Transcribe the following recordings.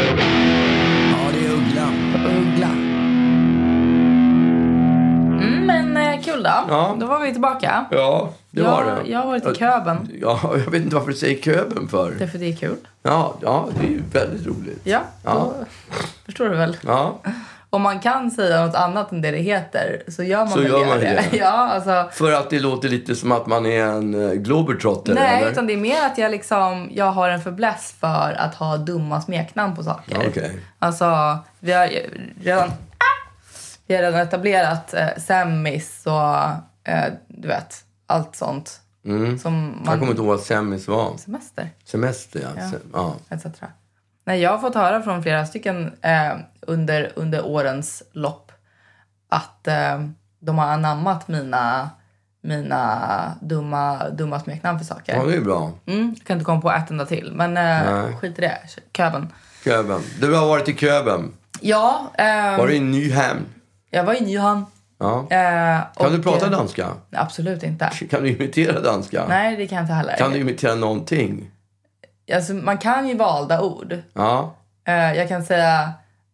Ja, det är Uggla. Uggla. Mm, men eh, kul då. Ja. Då var vi tillbaka. Ja, det jag, var det. Jag har varit i Köben. Ja, jag vet inte varför du säger Köben för. Därför det är kul. Ja, ja, det är ju väldigt roligt. Ja, Ja. då förstår du väl. Ja, Om man kan säga något annat än det det heter så gör man Så väl gör man det. Ja, alltså. för att det låter lite som att man är en eh, globetrotter, Nej, eller? utan det är mer att jag liksom, jag har en fäbless för att ha dumma smeknamn på saker. Okej. Alltså, vi har ju redan, ah! vi har redan etablerat eh, Sammis och eh, du vet, allt sånt. Som Mm. Jag man... kommer inte ihåg vad semis var. Semester. Semester, ja. Se- ja. etc. Nej, jag har fått höra från flera stycken eh, under, under årens lopp att eh, de har anammat mina, mina dumma, dumma smeknamn för saker. Ja, det är bra. Mm, jag kan inte komma på ett enda till, men eh, skit i det. Köben. Köben. Du har varit i Köben. Ja, eh, Var du i Nyhamn? jag var i Nyhamn. Ja. Eh, Kan du och- prata danska? Absolut inte. Kan du imitera danska? Nej, det kan jag inte heller. Kan du imitera någonting? Alltså, man kan ju valda ord. Ja, Eh, jag kan säga...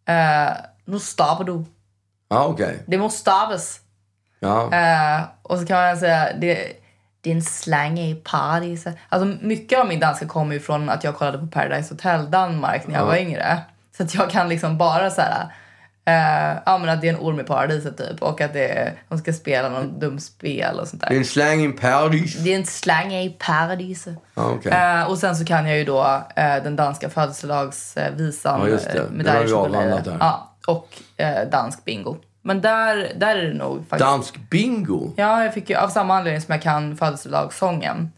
Eh, nu stavar du. ja okej. Det måste stavas. Ja. Eh, och så kan man säga, det, din slang är i Paris. Alltså mycket av min danska kommer ju från att jag kollade på Paradise Hotel Danmark när jag var yngre. Så att jag kan liksom bara så här, eh, ja men att det är en orm i paradiset typ och att det är, de ska spela någon dum spel och sånt där. Din slang in Paris. Det är en slang är i paradiset. Ja, okej. Eh, och sen så kan jag ju då eh, den danska födelsedagsvisan. Ja, just det. eh, med Det har vi Dario avhandlat Chocolade. där. Ja, och eh, dansk bingo. Men där, där är det nog faktiskt... Dansk bingo. Ja, jag fick ju, av samma anledning som jag kan födelsedagssången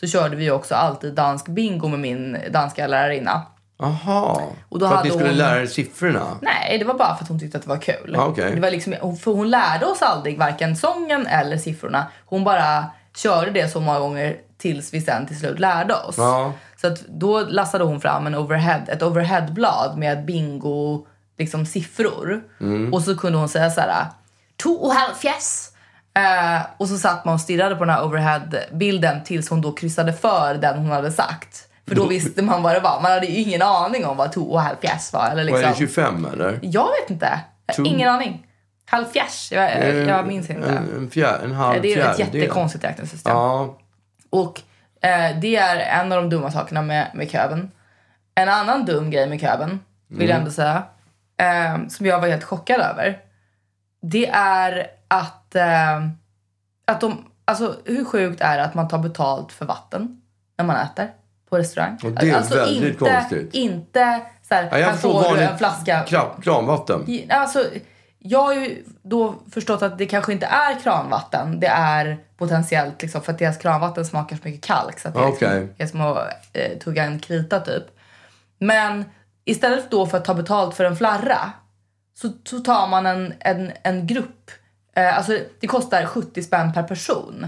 så körde vi ju också alltid dansk bingo med min danska lärarinna. Aha. Och då För att hade ni skulle hon- lära er siffrorna? Nej, det var bara för att hon tyckte att det var kul. Ah, okej. det var liksom, hon- för hon lärde oss aldrig varken sången eller siffrorna. Hon bara körde det så många gånger tills vi sen till slut lärde oss. Ja. Så att då lassade hon fram en overhead, ett overheadblad med bingo liksom siffror. Mm. Och så kunde hon säga så här två och halv fjäs. Eh, och så satt man och stirrade på den här overheadbilden tills hon då kryssade för den hon hade sagt. För då visste man vad det var. Man hade ju ingen aning om vad två och halv fjäs var. Eller Vad liksom. är det, 25 eller? Jag vet inte. Jag har Tror- ingen aning. Halv fjärs? Jag, jag, Eh, jag minns inte. En, en, fjär, en halv det är ju ett fjärdedel. jättekonstigt räkningssystem. Ja, Och eh, det är en av de dumma sakerna med, med köben. En annan dum grej med köben, vill Mm. jag ändå säga, eh, som jag var helt chockad över. Det är att, eh, att de, alltså hur sjukt är det att man tar betalt för vatten när man äter på restaurang? Och det är alltså väldigt inte, konstigt. Inte så här, Ja, jag här förstår får du en vanligt flaska kram, kranvatten. Ja, Alltså, jag har ju då förstått att det kanske inte är kranvatten. Det är potentiellt liksom, för att deras kranvatten smakar så mycket kalk. Så att det är Okej. liksom, är som att eh, tugga en krita typ. Men istället då för att ta betalt för en flarra så, så tar man en, en, en grupp. Eh, alltså, det kostar 70 spänn per person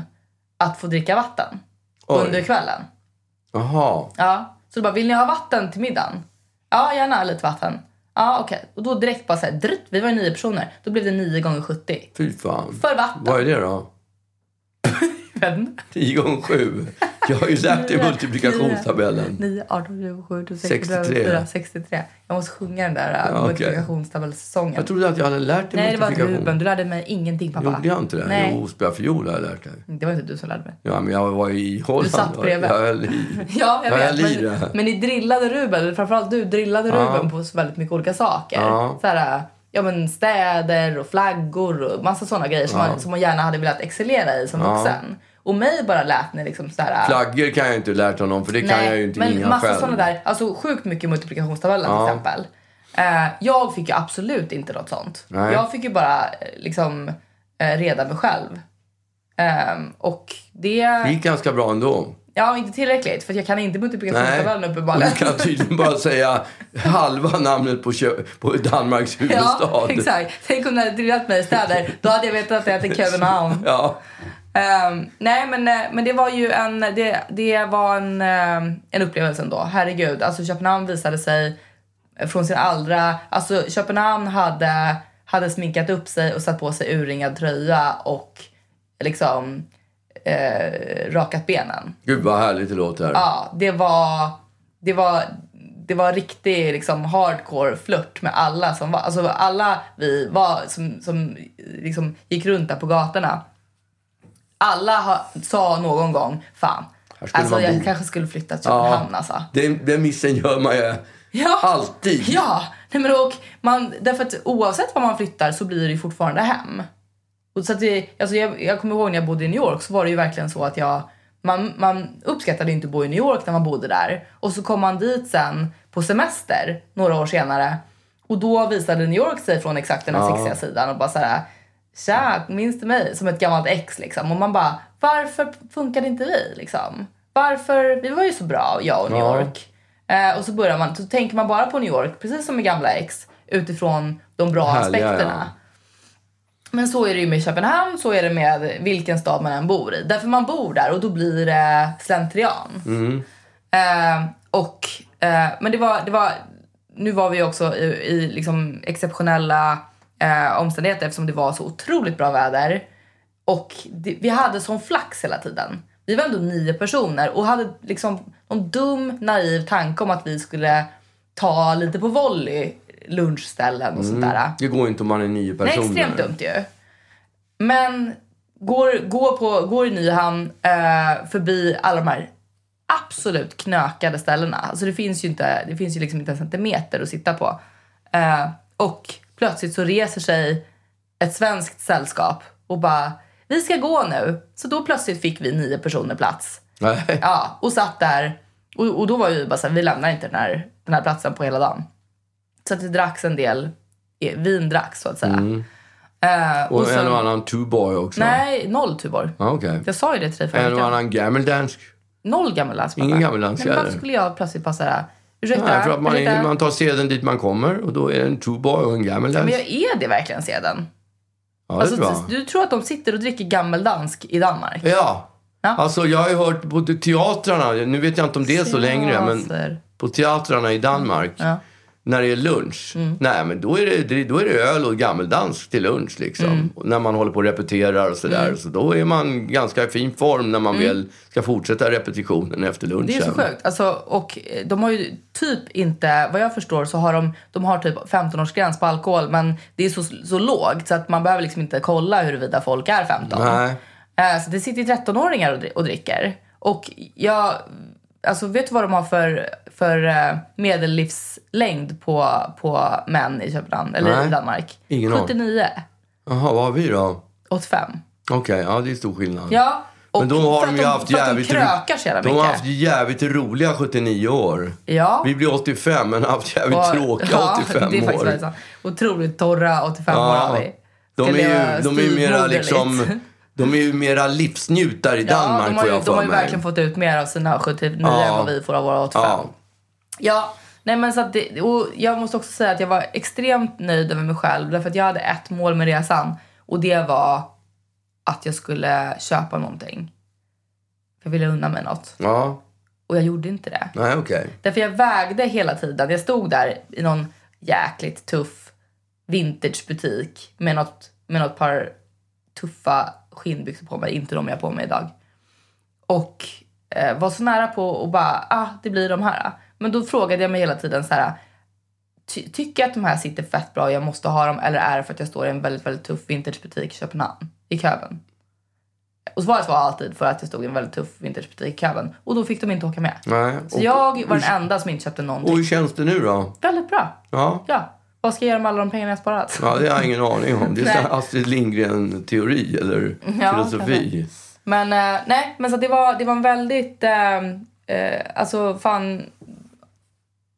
att få dricka vatten Oj. under kvällen. Jaha. Ja. Så du bara, vill ni ha vatten till middagen? Ja, gärna lite vatten. Ja, okej. Och då direkt bara så här, dritt, vi var ju nio personer. Då blev det nio gånger 70. Fy fan. För vatten. Vad är det då? Men, 10 gånger 7. Jag har ju lärt dig multiplikationstabellen. 9, 18, 27, 26, 63. 63. 63. Jag måste sjunga den där äh, Ja, okej. multiplikationstabellsången. Jag trodde att jag hade lärt dig Nej, det var inte multiplikation. Ruben. Du lärde mig ingenting, pappa. Gjorde jag inte det? Nej. Jo, spela fiol har jag lärt dig. Det var inte du som lärde mig. Ja, men jag var i Holland. satt bredvid. Jag höll i. Ja, jag jag vet. lirar. Men, men ni drillade Ruben, eller framförallt du drillade Ruben på så väldigt mycket olika saker. Ja. Så här, ja, men städer och flaggor och massa sådana grejer som, man, som man gärna hade velat excellera i som vuxen. Och mig bara lät ni liksom så här... Flaggor kan jag inte lärt honom för det kan jag ju inte men ringa massa själv. sådana där, alltså sjukt mycket multiplikationstabellen till exempel. Eh, jag fick ju absolut inte något sånt. Nej. Jag fick ju bara eh, liksom eh, reda mig själv. Ehm, och det... Det gick ganska bra ändå. Ja, inte tillräckligt. För jag kan inte multiplikationstabellen Och uppenbarligen. du kan tydligen bara säga halva namnet på, kö- på Danmarks huvudstad. Ja, exakt. Tänk om du hade drillat mig i städer. Då hade jag vetat att jag hette Köpenhamn. Ja, Ehm, nej, men, eh, men det var ju en, det, det var en, ehm, en upplevelse ändå. Herregud, alltså Köpenhamn visade sig från sin allra... Alltså Köpenhamn hade, hade sminkat upp sig och satt på sig urringad tröja och liksom eh, rakat benen. gud vad härligt det låter. Ja, det var... Det var det var riktig liksom, hardcore flört med alla som var, alltså alla vi var som, som liksom, gick runt där på gatorna. Alla ha, sa någon gång, fan, skulle alltså man jag bo." kanske skulle flytta till Köpenhamn alltså. Den, den missen gör man ju Ja. alltid. Ja, nej men och man, därför att oavsett var man flyttar så blir det ju fortfarande hem. Och så att det, alltså jag, jag kommer ihåg när jag bodde i New York så var det ju verkligen så att jag, man, man uppskattade inte att bo i New York när man bodde där. Och så kom man dit sen på semester några år senare och då visade New York sig från exakt den här sexiga sidan och bara så här. Tja, minns du mig? Som ett gammalt ex liksom. Och man bara, varför funkade inte vi liksom? Varför? Vi var ju så bra, jag och New Ja. York. Eh, och så börjar man, så tänker man bara på New York, precis som med gamla ex, utifrån de bra Härliga, ja. aspekterna. Men så är det ju med Köpenhamn, så är det med vilken stad man än bor i. Därför man bor där och då blir det slentrian. Eh, och, eh, men det var, det var, nu var vi också i, i liksom exceptionella eh, omständigheter eftersom det var så otroligt bra väder. Och det, vi hade sån flax hela tiden. Vi var ändå nio personer och hade liksom någon dum naiv tanke om att vi skulle ta lite på volley lunchställen och sånt där. Det går inte om man är nio Nej, personer. extremt dumt ju. Men går, går, på, går i Nyhamn eh, förbi alla de här absolut knökade ställena. Alltså det finns ju inte, det finns ju liksom inte en centimeter att sitta på. Eh, och plötsligt så reser sig ett svenskt sällskap och bara vi ska gå nu. Så då plötsligt fick vi nio personer plats. Nej. Ja, och satt där. Och, och då var vi bara så här, vi lämnar inte den här, den här platsen på hela dagen. Så att det dracks en del eh, vin dracks så att säga. Eh, Mm. Och, och sen- en och annan two-boy också. Nej, noll Tuborg. Ja, Okej. Jag sa ju det till dig förra En och veckan. annan gammeldansk. Noll gammeldans. Ingen pappa. gammeldans, Men varför eller? skulle jag plötsligt bara såhär, ursäkta, Nej, för att man, ursäkta. är, man tar seden dit man kommer och då är det en two-boy och en gammeldansk. Men jag är det verkligen sedan? Ja, det är Alltså, bra. du tror att de sitter och dricker gammeldansk i Danmark? Ja. Ja. Alltså jag har ju hört på teatrarna, nu vet jag inte om det är så längre, men Teater. på teatrarna i Danmark, Mm, när det är lunch, nej men då är det, då är det öl och gammeldans till lunch liksom. Mm. Och När man håller på och repeterar och sådär. Så då är man ganska i fin form när man väl ska fortsätta repetitionen efter lunchen. Mm. Det är så sjukt. Alltså, och eh, de har ju typ inte, vad jag förstår så har de, de har typ 15-årsgräns på alkohol men det är så, så lågt så att man behöver liksom inte kolla huruvida folk är 15. Nej. Eh, Så det sitter ju 13-åringar och dri- och dricker. Och jag, alltså vet du vad de har för, för eh, medellivslängd på, på män i Köpenhamn, eller Nej. i Danmark? Ingen aning. 79, Jaha, vad har vi då? 85. Okej, ja det är stor skillnad. Ja. och Men då för har de att ju haft för att jävligt, de krökar så jävla de mycket. har haft jävligt roliga 79 år. ja. Vi blir 85 men har haft jävligt Och- tråkiga ja, 85 det är faktiskt år. väldigt sant. Otroligt torra 85 år Ja. har vi. De Skulle är, ju, jag de är ju mera styvmoderligt. liksom... De är ju mera livsnjutare i Danmark ja, de har får ju, jag de har för ju mig. verkligen fått ut mer av sina 79 Ja. än vad vi får av våra 85. Ja. Ja, nej men så att det, och jag måste också säga att jag var extremt nöjd över mig själv därför att jag hade ett mål med resan och det var att jag skulle köpa någonting. Jag ville unna mig något ja. och jag gjorde inte det. Nej, okej. Därför jag vägde hela tiden. Jag stod där i någon jäkligt tuff vintagebutik med något, med något par tuffa skinnbyxor på mig. Inte de jag har på mig idag. Och eh, var så nära på att bara, ah, det blir de här. Men då frågade jag mig hela tiden så här, ty- tycker jag att de här sitter fett bra och jag måste ha dem eller är det för att jag står i en väldigt, väldigt tuff vintagebutik i Köpenhamn, i Köben? Och svaret var alltid för att jag stod i en väldigt tuff vintagebutik i Köben. Och då fick de inte åka med. Nej. Så och, jag var den enda som inte köpte någonting. och hur känns det nu då? Väldigt bra. Ja. Ja. Vad ska jag göra med alla de pengarna jag sparat? Ja, det har jag ingen aning om. Det är Nej. så här Astrid Lindgren-teori eller Ja, filosofi. Men eh, nej, men så att det var, det var en väldigt, eh, eh, alltså fan,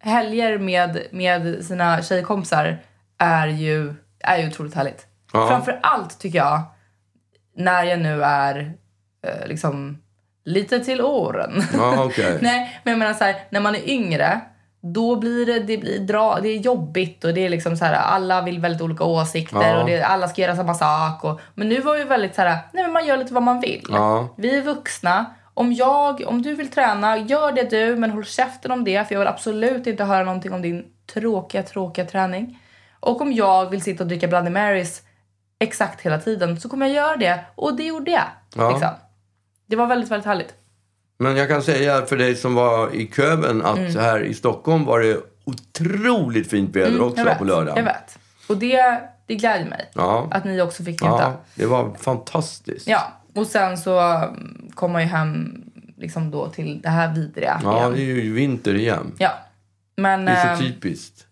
helger med, med sina tjejkompisar är ju, är ju otroligt härligt. Ja. Framför allt tycker jag, när jag nu är eh, liksom lite till åren. Ja, okej. nej, men jag menar så här, när man är yngre, då blir det, det, blir dra, det är jobbigt och det är liksom så här, alla vill väldigt olika åsikter Ja. och det, alla ska göra samma sak. Och, men nu var ju väldigt så här, nej men man gör lite vad man vill. Ja. Vi är vuxna. Om, jag, om du vill träna, gör det du, men håll käften om det för jag vill absolut inte höra någonting om din tråkiga, tråkiga träning. Och om jag vill sitta och dricka Bloody Marys exakt hela tiden så kommer jag göra det och det gjorde jag. Ja. Liksom. Det var väldigt, väldigt härligt. Men jag kan säga för dig som var i Köben att Mm. här i Stockholm var det otroligt fint väder Mm, också jag vet, på lördagen. Jag vet. Och det, det gläder mig Ja. att ni också fick njuta. ja, det var fantastiskt. Ja. Och sen så mm, kom man ju hem liksom då till det här vidriga Ja, igen. det är ju vinter igen. ja. Men, Det är ehm, så typiskt.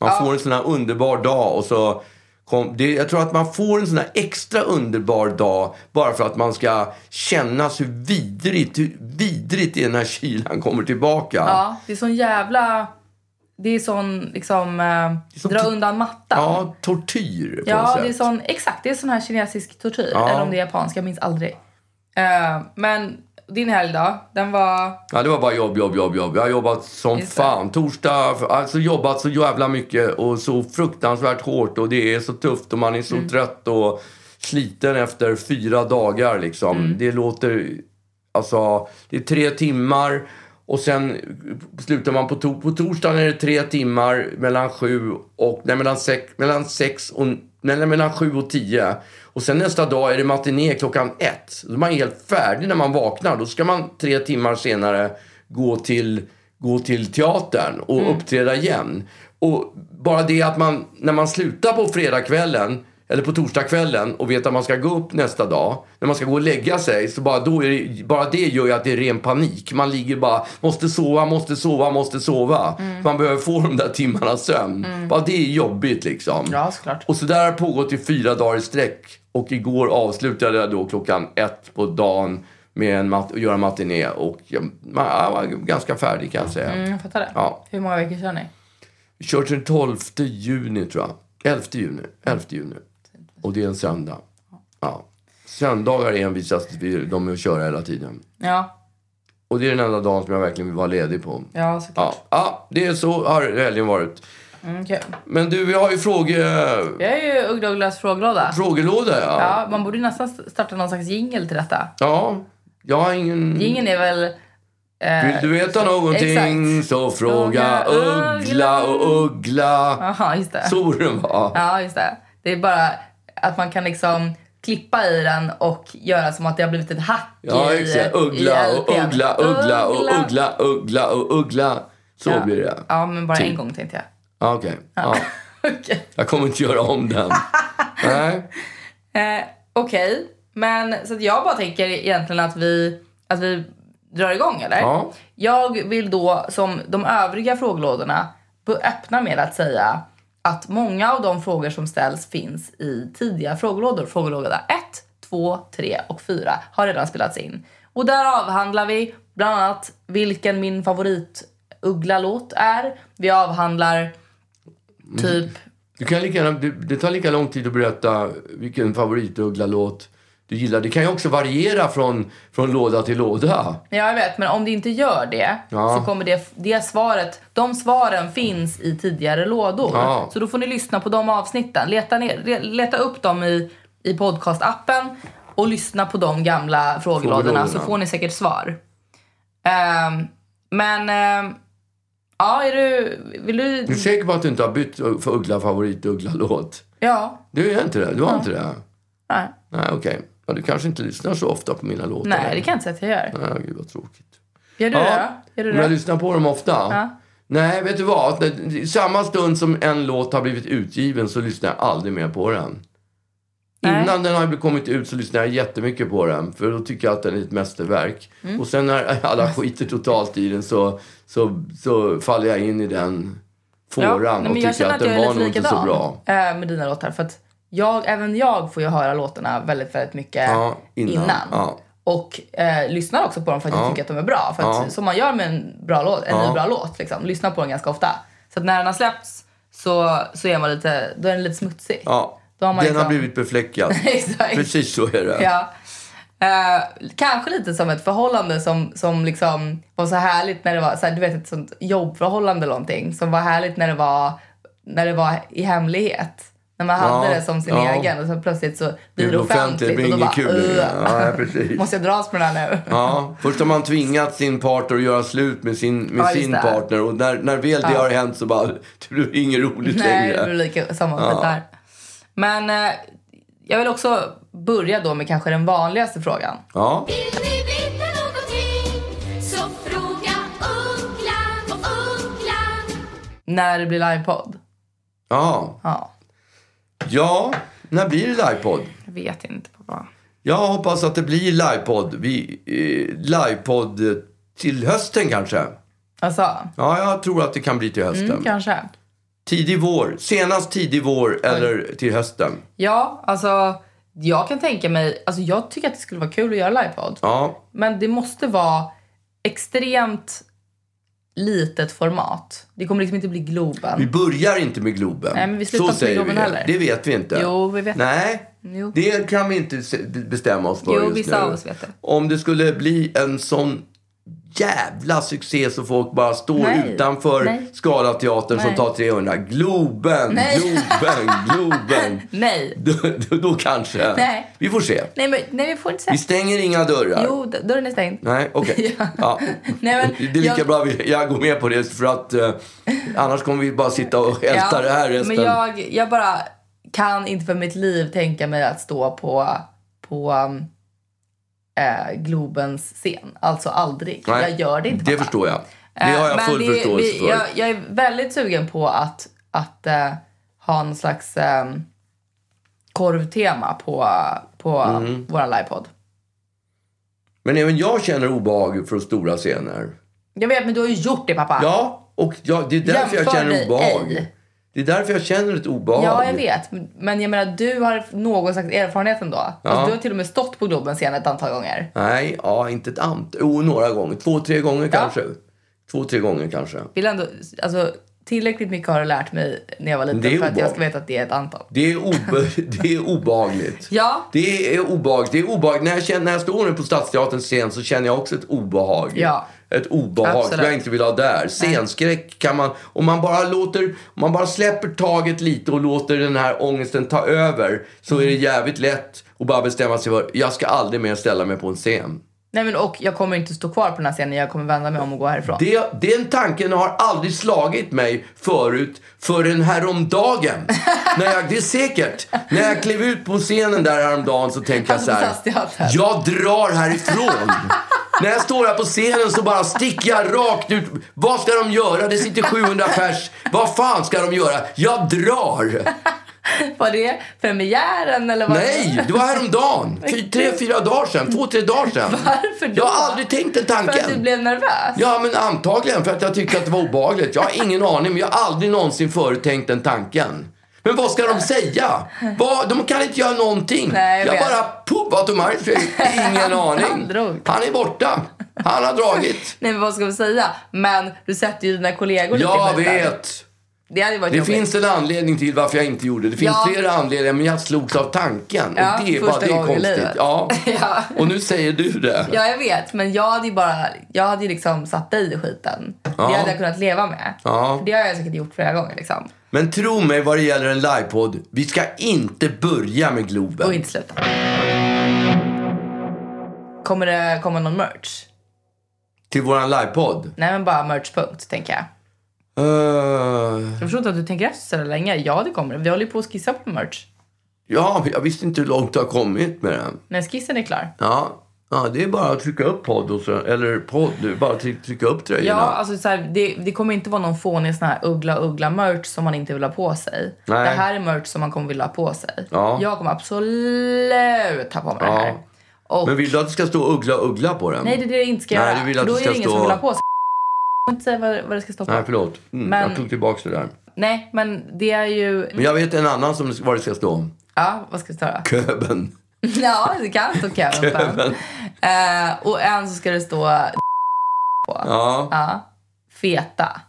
Man får en sån här underbar dag och så... Kom, det, jag tror att man får en sån här extra underbar dag bara för att man ska kännas hur vidrigt, hur vidrigt det är när kylan kommer tillbaka. Ja, det är sån jävla... Det är sån liksom... Eh, som dra to- undan mattan. typ- Ja, tortyr på något Ja, sätt. det är sån, exakt. Det är sån här kinesisk tortyr. Ja. Eller om det är japansk, jag minns aldrig. Eh, men din helg då? Den var... Ja, det var bara jobb, jobb, jobb, jobb. Jag har jobbat som Just det. fan. Torsdag, alltså jobbat så jävla mycket och så fruktansvärt hårt och det är så tufft och man är Mm. så trött och sliten efter fyra dagar liksom. Mm. Det låter, alltså, det är tre timmar och sen slutar man på, to- på torsdagen är det tre timmar mellan sju och, nej mellan sex, mellan sex och, nej, mellan sju och tio. Och sen nästa dag är det matiné klockan ett. Då är man helt färdig när man vaknar. Då ska man tre timmar senare gå till, gå till teatern och Mm. uppträda igen. Och bara det att man, när man slutar på fredagskvällen eller på torsdagskvällen och vet att man ska gå upp nästa dag. När man ska gå och lägga sig, så bara, då är det, bara det gör ju att det är ren panik. Man ligger bara, måste sova, måste sova, måste sova. Mm. Man behöver få de där timmarna sömn. Bara det är jobbigt liksom. Ja, såklart. Och så där har det pågått i fyra dagar i sträck. Och igår avslutade jag då klockan ett på dagen med en mat- att göra matiné. Och jag, jag var ganska färdig kan jag säga. Mm, jag fattar det. Ja. Hur många veckor kör ni? Kört den 12 juni tror jag. 11 juni. 11 juni. Och det är en söndag. Ja. Söndagar envisas vi de med att köra hela tiden. Ja, Och det är den enda dagen som jag verkligen vill vara ledig på. ja såklart. Ja, ja det är så har helgen varit. Mm, kul. Men du, vi har ju fråge... Jag är ju Ugg Douglas frågelåda. frågelåda. Ja. Ja, man borde ju nästan starta någon slags jingle till Mm. detta. ja. Jag har ingen... Jingeln är väl... eh, Vill du veta någonting Exakt. så Fråga fråga Uggla och Uggla. Jaha, just det. Så borde det vara. Ja, just det. Det är bara att man kan liksom klippa i den och göra som att det har blivit ett hack Ja, i, exakt. i Uggla och LPn. uggla, uggla och uggla, uggla och uggla. Så Ja. blir det. Ja, men bara en Typ. gång tänkte jag. Ja. Okej. Ja. Okej. Jag kommer inte göra om den. Nej. Eh, Okej, men så att jag bara tänker egentligen att vi, att vi drar igång, eller? Ja. Jag vill då, som de övriga frågelådorna, bu- öppna med att säga att många av de frågor som ställs finns i tidiga frågelådor. Frågelåda 1, 2, 3 och 4 har redan spelats in. Och där avhandlar vi bland annat vilken min favorit Uggla-låt är. Vi avhandlar typ... Du kan lika gärna, du, det tar lika lång tid att berätta vilken favorit-Uggla-låt du gillar. Det kan ju också variera från, från låda till låda. Ja, jag vet. Men om det inte gör det Ja. så kommer det, det svaret... De svaren finns i tidigare lådor. Ja. Så då får ni lyssna på de avsnitten. Leta, ner, re- leta upp dem i, i podcastappen och lyssna på de gamla frågelådorna Frågelådorna. så får ni säkert svar. Ehm, men... ehm, ja, är du... Vill du... Du är säker på att du inte har bytt ö- för Uggla-favorit-Uggla-låt? Ja. Du är inte det? Du har inte det? Nej. Nej, okej. Ja, du kanske inte lyssnar så ofta på mina låtar. Nej, det kan jag inte säga att jag gör. Nej, gud vad tråkigt. Gör du det då? Gör du men jag det? lyssnar på dem ofta. Nej, vet du vad? Det- Samma stund som en låt har blivit utgiven så lyssnar jag aldrig mer på den. Nej. Innan den har kommit ut så lyssnar jag jättemycket på den. För då tycker jag att den är ett mästerverk. Mm. Och sen när alla skiter totalt i den så, så, så faller jag in i den fåran nej, men och jag tycker känner att den jag är var nog lite inte så likadan, eh, bra. Med dina låtar. För att jag, även jag får ju höra låtarna väldigt, väldigt mycket Ja, innan. innan. Ja. Och eh, lyssnar också på dem för att jag tycker att de är bra. För att, Som man gör med en bra låt, en ny bra låt. Liksom. Lyssnar på den ganska ofta. Så att när den har släppts så, så är man lite, då är den lite smutsig. Ja, Då har den man har liksom- blivit befläckad. Exakt. Precis så är det. Ja. Eh, kanske lite som ett förhållande som, som liksom var så härligt när det var så här, du vet, ett sånt jobbförhållande eller någonting som var härligt när det var, när det var i hemlighet. När man hade Ja, det som sin ja. egen och så plötsligt så Det blir det offentligt. det blir och då inget bara, kul längre. "Ugh, Ja, precis. Måste jag dras med den här nu? Ja, först har man tvingat sin partner att göra slut med sin, med Ja, just sin det. partner och när, när väl det har hänt så bara, det blir inget roligt Nej, det blir längre. lika, samma skit där. Men eh, jag vill också börja då med kanske den vanligaste frågan. Ja. Vill ni veta någonting så fråga Ugglan och Ugglan När det blir livepodd. Ja. Ja, ja, när blir det livepodd? jag vet inte pappa. Jag hoppas att det blir livepodd. Vi, eh, livepodd eh, till hösten kanske. Alltså, Ja, jag tror att det kan bli till hösten. kanske. Tidig vår. Senast tidig vår eller till hösten. Ja, alltså jag kan tänka mig, alltså jag tycker att det skulle vara kul att göra livepodd. Ja, Men det måste vara extremt litet format. Det kommer liksom inte bli Vi Globen. börjar inte med Globen. Nej, men vi slutar inte med Globen vi. heller. Det vet vi inte. Jo, vi vet. Nej, Jo. det kan vi inte se- bestämma oss för Jo, just vissa nu. av oss vet det. Om det skulle bli en sån jävla succé så folk bara står Nej. utanför Nej. Scalateatern som Nej. tar 300. Globen, Nej. Globen, Globen. Nej. Då, då, då kanske. Nej. Vi får se. Nej, men nej, vi får inte säga. Vi stänger inga dörrar. Jo, d- dörren är stängd. Nej, okej. Ja. Ja. Nej, men det är lika jag- bra vi, jag går med på det för att eh, annars kommer vi bara sitta och älta det här resten. men jag, jag bara kan inte för mitt liv tänka mig att stå på, på um, eh, Globens scen. Alltså aldrig. Nej, jag gör det inte. Det pappa. förstår jag. Det har jag Eh, full det- förståelse vi- för. Jag, jag är väldigt sugen på att, att eh, ha någon slags eh, korvtema på, på Mm. vår livepodd. Men även jag känner obehag från stora scener. Jag vet, men du har ju gjort det pappa. Ja, och jag, det är därför Jämför jag känner dig obehag. ej. Det är därför jag känner ett obehag. Ja, jag vet. Men jag menar, du har någon slags erfarenhet ändå. Alltså, du har till och med stått på Globen scen ett antal gånger. Nej, ja, inte ett amt. Jo, några gånger. Två, tre gånger Ja. kanske. Två, tre gånger kanske. Vill ändå, alltså, tillräckligt mycket har du lärt mig när jag var Det är liten för att jag ska obehagligt. veta att det är ett antal. Det är, obe, det är obehagligt. Ja. Det är obehagligt. Det är obehagligt. När, jag känner, när jag står nu på Stadsteaterns scen så känner jag också ett obehag. Ja. Ett obehag som Absolut. jag inte vill ha där. Scenskräck kan man... Om man bara låter... Om man bara släpper taget lite och låter den här ångesten ta över så är det jävligt lätt att bara bestämma sig för jag ska aldrig mer ställa mig på en scen. Nej, men, och jag kommer inte stå kvar på den här scenen. Jag kommer vända mig om och gå härifrån. Det, den tanken har aldrig slagit mig förut förrän häromdagen. när jag, det är säkert. När jag klev ut på scenen där häromdagen så tänkte jag så här. Alltså, Stadsteatern. Jag drar härifrån. när jag står här på scenen så bara sticker jag rakt ut. Vad ska de göra? Det sitter 700 pers. Vad fan ska de göra? Jag drar. Var det premiären eller vad Nej, det var häromdagen. Fy, tre, fyra dagar sedan. Två, tre dagar sedan. Varför då? Jag har aldrig tänkt den tanken. För att du blev nervös? Ja, men antagligen för att jag tyckte att det var obehagligt. Jag har ingen aning, men jag har aldrig någonsin förut tänkt den tanken. Men vad ska de säga? Vad, de kan inte göra någonting. Nej, jag jag vet. bara puff, automatiskt. Ingen aning. Han drog. Han är borta. Han har dragit. Nej men vad ska vi säga? Men du sätter ju dina kollegor Jag lite i skiten. vet. Det hade ju varit Det jobbigt. finns en anledning till varför jag inte gjorde det. Det finns Ja. flera anledningar, men jag slogs av tanken. Ja, och det är första bara det är gången i konstigt. livet. Ja. Ja. Och nu säger du det. Ja jag vet men jag hade ju bara, jag hade ju liksom satt dig i skiten. Det hade jag kunnat leva med. Ja. För det har jag säkert gjort flera gånger liksom. Men tro mig vad det gäller en livepodd. Vi ska inte börja med Globen. Och inte sluta. Kommer det komma någon merch? Till våran livepodd. Nej men bara merchpunkt tänker jag. Eh, Jag förstår inte att du tänker efter så länge. Ja det kommer det. Vi håller ju på att skissa på merch. ja, jag visste inte hur långt du har kommit med den. När skissen är klar. Ja, Ja, det är bara att trycka upp podd och så, eller podd nu, bara try- trycka upp tröjorna. Ja, alltså så här, det, det kommer inte vara någon fånig sån här uggla-uggla-merch som man inte vill ha på sig. Nej. Det här är merch som man kommer vilja ha på sig. Ja. Jag kommer absolut ha på mig det Ja. här. Och, Men vill du att det ska stå uggla uggla på den? Nej, det är det jag inte ska Nej, göra. du vill för att då det är ska det ingen stå- som vill ha på sig. Jag får inte säga vad, vad det ska stå på. Nej, förlåt. Mm, Men- Jag tog tillbaks det där. Nej, men det är ju... Men jag vet en annan som vad det ska stå. Ja, vad ska det stå då? Köben. Ja, det kan stå Kevin på en. Eh, Och en så ska det stå Ja. feta.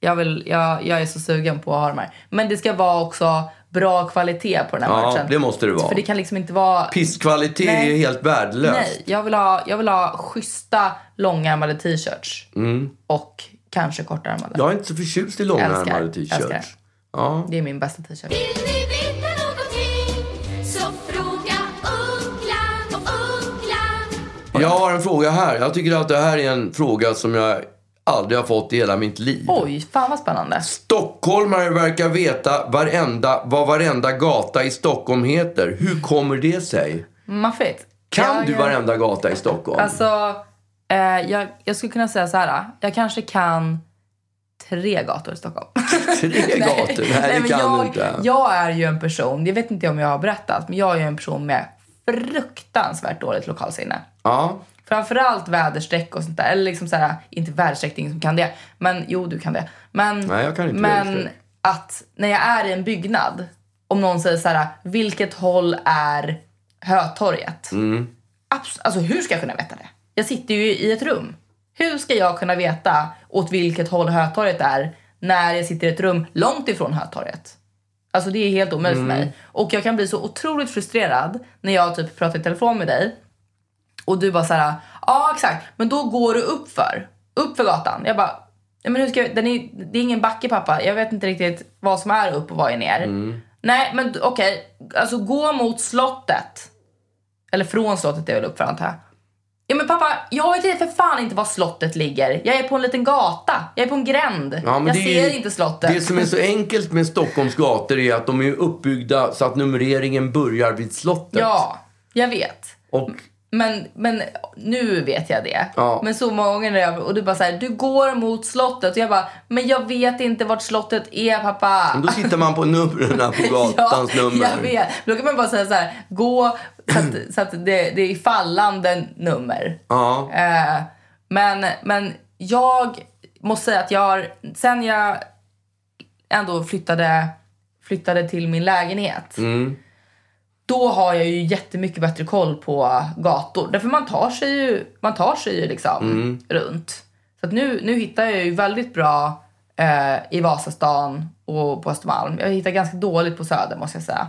Jag, vill, jag, jag är så sugen på att ha de här. Men det ska vara också bra kvalitet på den här Ja, matchen. det måste det vara. För det kan liksom inte vara... Pisskvalitet Nej. är helt värdelöst. Nej, jag vill ha, jag vill ha schyssta långärmade t-shirts. Mm. Och kanske kortärmade. Jag är inte så förtjust i långärmade älskar. t-shirts. Ja. Det är min bästa t-shirt. Vill ni veta någonting så fråga Ugglan och Ugglan Jag har en fråga här. Jag tycker att det här är en fråga som jag aldrig har fått i hela mitt liv. Oj, fan vad spännande. Stockholmare verkar veta varenda, vad varenda gata i Stockholm heter. Hur kommer det sig? Maffigt. Kan Jag- du varenda gata i Stockholm? Alltså, eh, jag, jag skulle kunna säga så här. ah. Jag kanske kan tre gator i Stockholm. Tre gator? Nej, det men kan jag, du inte. Jag är ju en person, jag vet inte om jag har berättat, men jag är ju en person med fruktansvärt dåligt lokalsinne. Ja. Framförallt väderstreck och sånt där. Eller liksom så här, inte väderstreck, det är ingen som kan det. Men jo, du kan det. Men, Nej, jag kan inte men väderstreck. att när jag är i en byggnad, om någon säger så här, vilket håll är Hötorget? Mm. Abs- alltså hur ska jag kunna veta det? Jag sitter ju i ett rum. Hur ska jag kunna veta åt vilket håll Hötorget är när jag sitter i ett rum långt ifrån Hötorget? Alltså det är helt omöjligt Mm. för mig. Och jag kan bli så otroligt frustrerad när jag typ pratar i telefon med dig och du bara så här, ja exakt, men då går du upp för, upp för gatan. Jag bara, ja, men hur ska jag, den är, det är ingen backe pappa, jag vet inte riktigt vad som är upp och vad är ner. Mm. Nej men d- okej, alltså gå mot slottet. Eller från slottet är väl uppför antar jag. Ja men pappa, jag vet inte för fan inte var slottet ligger. Jag är på en liten gata, jag är på en gränd. Ja, men jag det är ser ju- inte slottet. Det som är så enkelt med Stockholms gator är att de är uppbyggda så att numreringen börjar vid slottet. Ja, jag vet. Och Men, men nu vet jag det. Ja. Men så många gånger när jag, och du bara så här, du går mot slottet. Och jag bara, men jag vet inte vart slottet är pappa. men då sitter man på numren på gatans nummer. Jag vet. Då kan man bara säga så här, gå så att, så att det, det är fallande nummer. Ja. Eh, men, men jag måste säga att jag har, sen jag ändå flyttade, flyttade till min lägenhet. Då har jag ju jättemycket bättre koll på gator. Därför man tar sig ju, man tar sig ju liksom runt. Så att nu, nu hittar jag ju väldigt bra eh, i Vasastan och på Östermalm. Jag hittar ganska dåligt på Söder måste jag säga.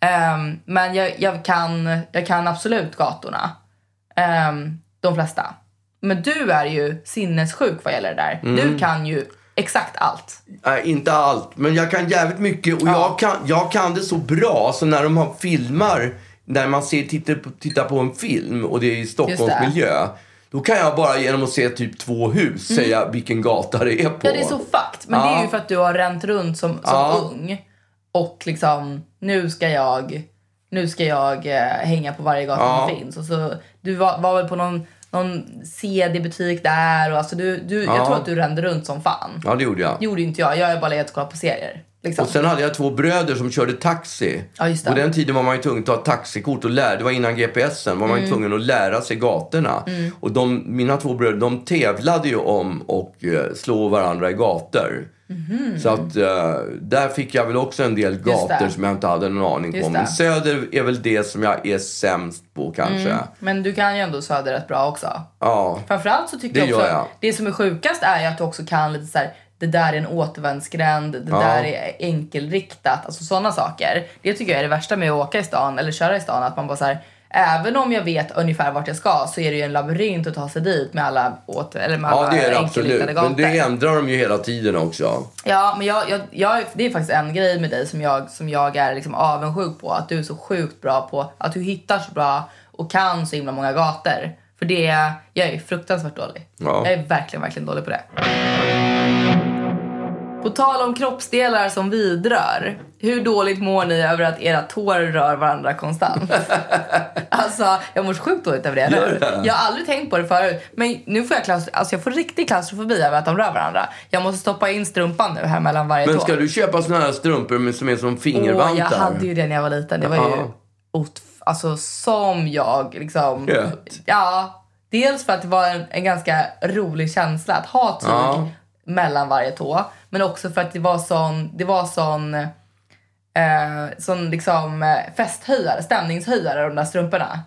Ehm, men jag, jag, kan, jag kan absolut gatorna. Ehm, de flesta. Men du är ju sinnessjuk vad gäller det där. Mm. Du kan ju exakt allt. Nej, inte allt. Men jag kan jävligt mycket och jag, kan, jag kan det så bra så när de har filmar, när man ser, tittar, på, tittar på en film och det är i Stockholmsmiljö. Då kan jag bara genom att se typ två hus säga vilken gata det är på. Mm. Ja, det är så fucked. Men det är Ja. ju för att du har ränt runt som, som Ja. ung. Och liksom, nu ska jag, nu ska jag eh, hänga på varje gata som finns. Och så, du var, var väl på någon, någon CD-butik där. Och alltså du, du, Jag tror att du rände runt som fan. Ja, det gjorde jag. Det gjorde ju inte jag. Jag har bara legat och kollat på serier. Liksom. Och sen hade jag två bröder som körde taxi. Ja, just det. På den tiden var man ju tvungen att ta taxikort och lära, det var innan GPSen, var man Mm. ju tvungen att lära sig gatorna. Och de, mina två bröder, de tävlade ju om och eh, slå varandra i gator. Så att eh, där fick jag väl också en del gator Mhm. det. som jag inte hade någon aning Just om. Men det. Söder är väl det som jag är sämst på kanske. Mm. Men du kan ju ändå Söder rätt bra också. Ja. Framförallt så tycker Det jag också gör jag. det som är sjukast är ju att du också kan lite så här det där är en återvändsgränd, det där är enkelriktat, alltså sådana saker. Det tycker jag är det värsta med att åka i stan eller köra i stan att man bara så här även om jag vet ungefär vart jag ska så är det ju en labyrint att ta sig dit med alla åter eller med Ja, alla det är det enkelriktade absolut. Men det ändrar de ju hela tiden också. Ja, men jag, jag, jag, det är faktiskt en grej med dig som jag, som jag är liksom avundsjuk på. Att du är så sjukt bra på, att du hittar så bra och kan så himla många gator. För det, jag är fruktansvärt dålig. Ja. Jag är verkligen, verkligen dålig på det. På tal om kroppsdelar som vidrör. Hur dåligt mår ni över att era tår rör varandra konstant? alltså, jag mår sjukt dåligt över det nu. Jag har aldrig tänkt på det förut. Men nu får jag, klaus- alltså, jag får riktig klaustrofobi över att de rör varandra. Jag måste stoppa in strumpan nu här mellan varje tå. Men ska du köpa såna här strumpor med, som är som Åh, jag fingervantar? hade ju det när jag var liten. Det var ju Ja. ot- alltså som jag liksom. Gött. Ja. Dels för att det var en, en ganska rolig känsla att ha tyg Ja. mellan varje tå. Men också för att det var sån, det var sån, eh, sån liksom eh, festhöjare, stämningshöjare de där strumporna.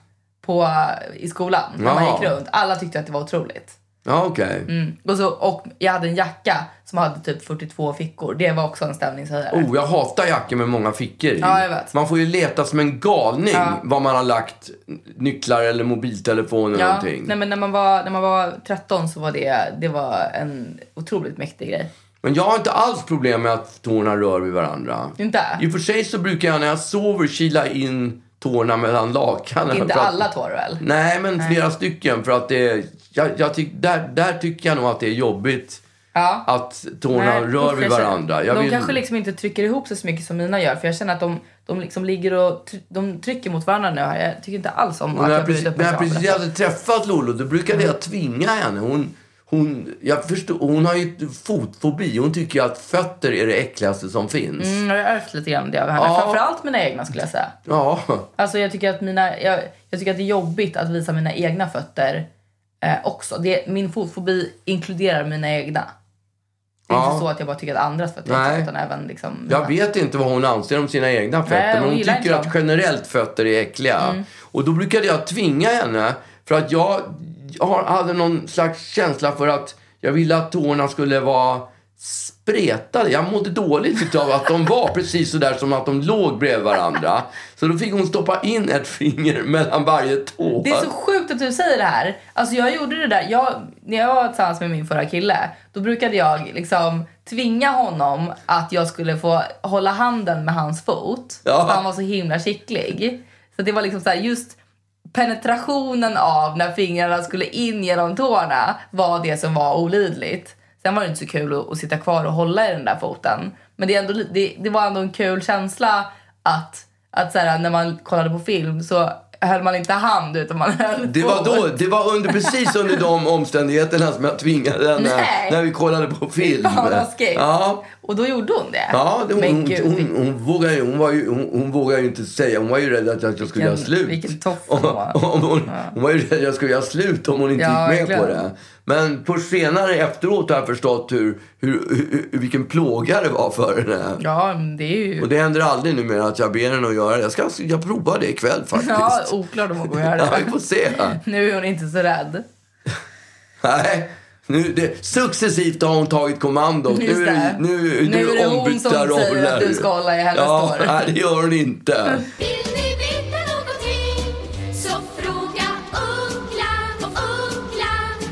På, eh, I skolan, när man Ja. gick runt. Alla tyckte att det var otroligt. Ja, okej. Och, så, och jag hade en jacka som hade typ 42 fickor. Det var också en stämningshöjare. Oh, jag hatar jackor med många fickor i. Ja, jag vet. Man får ju leta som en galning var man har lagt nycklar eller mobiltelefon eller någonting. Nej, men när, man var, när man var 13 så var det, det var en otroligt mäktig grej. Men jag har inte alls problem med att tårna rör vid varandra. Inte? I och för sig så brukar jag när jag sover kila in tårna mellan lakanen. Inte för att- Mm, alla tår väl? Nej, men flera stycken. För att det, jag, jag tyck, där, där tycker jag nog att det är jobbigt Ja. att tårna Nej, rör usch, vid jag känner- varandra. Jag de vill- kanske liksom inte trycker ihop sig så mycket som mina gör. För jag känner att de, de liksom ligger och tr- de trycker mot varandra nu. här. Jag tycker inte alls om att när jag jag precis, blivit när jag uppmärksammad. precis hade träffat Lolo, då brukade Mm. jag tvinga henne. Hon, hon, jag förstår, hon har ju fotfobi. Hon tycker ju att fötter är det äckligaste som finns. Mm, Jag har ärvt lite grann det av henne. Ja. Framförallt mina egna skulle jag säga. Ja. Alltså jag tycker att, mina, jag, jag tycker att det är jobbigt att visa mina egna fötter eh, också. Det, min fotfobi inkluderar mina egna. Det är Ja. inte så att jag bara tycker att andras fötter är Nej. äckliga, utan även liksom mina. Jag vet inte vad hon anser om sina egna fötter, Nej, hon men hon gillar tycker inte att dem. Mm. generellt fötter är äckliga. Och då brukade jag tvinga henne, för att jag, jag har- hade någon slags känsla för att jag ville att tårna skulle vara spretade. Jag mådde dåligt utav att de var precis sådär som att de låg bredvid varandra. Så då fick hon stoppa in ett finger mellan varje tå. Det är så sjukt att du säger det här. Alltså jag gjorde det där. Jag, när jag var tillsammans med min förra kille, då brukade jag liksom tvinga honom att jag skulle få hålla handen med hans fot. Ja. För han var så himla kittlig. Så det var liksom så här, just penetrationen av när fingrarna skulle in genom tårna var det som var olidligt. Sen var det inte så kul att, att sitta kvar och hålla i den där foten. Men det, är ändå, li- det, det var ändå en kul känsla att, att så här, när man kollade på film så höll man inte hand utan man höll Det var, fot. då, det var under, precis under de omständigheterna som jag tvingade henne Nej. när vi kollade på film. Fan vad skit. Ja. Och då gjorde hon det. Ja, det, hon, Men hon, gud, hon, hon, vågade, ju- hon, var ju, hon, hon vågade ju inte säga. Hon var ju rädd att jag, jag skulle göra Vilken- slut. vilken toff om, hon var. om hon, hon var ju rädd att jag skulle göra slut om hon inte Ja, gick med på verkligen. det. Men på senare efteråt har jag förstått hur, hur, hur, hur, vilken plåga det var för henne. ja, men det är ju... Och det händer aldrig numera att jag ber henne att göra det. Jag, ska, jag provar det ikväll faktiskt. ja, oklart om hon kommer göra Ja, det. vi får se. Nu är hon inte så rädd. Nej. Nu, det, successivt har hon tagit kommandot. Nu, Just är det- det. nu, nu, Nu är det hon ombytta som säger roller. att du ska hålla i hennes ja, tår. Nej, det gör hon inte. Vill ni veta någonting så fråga Ugglan och Ugglan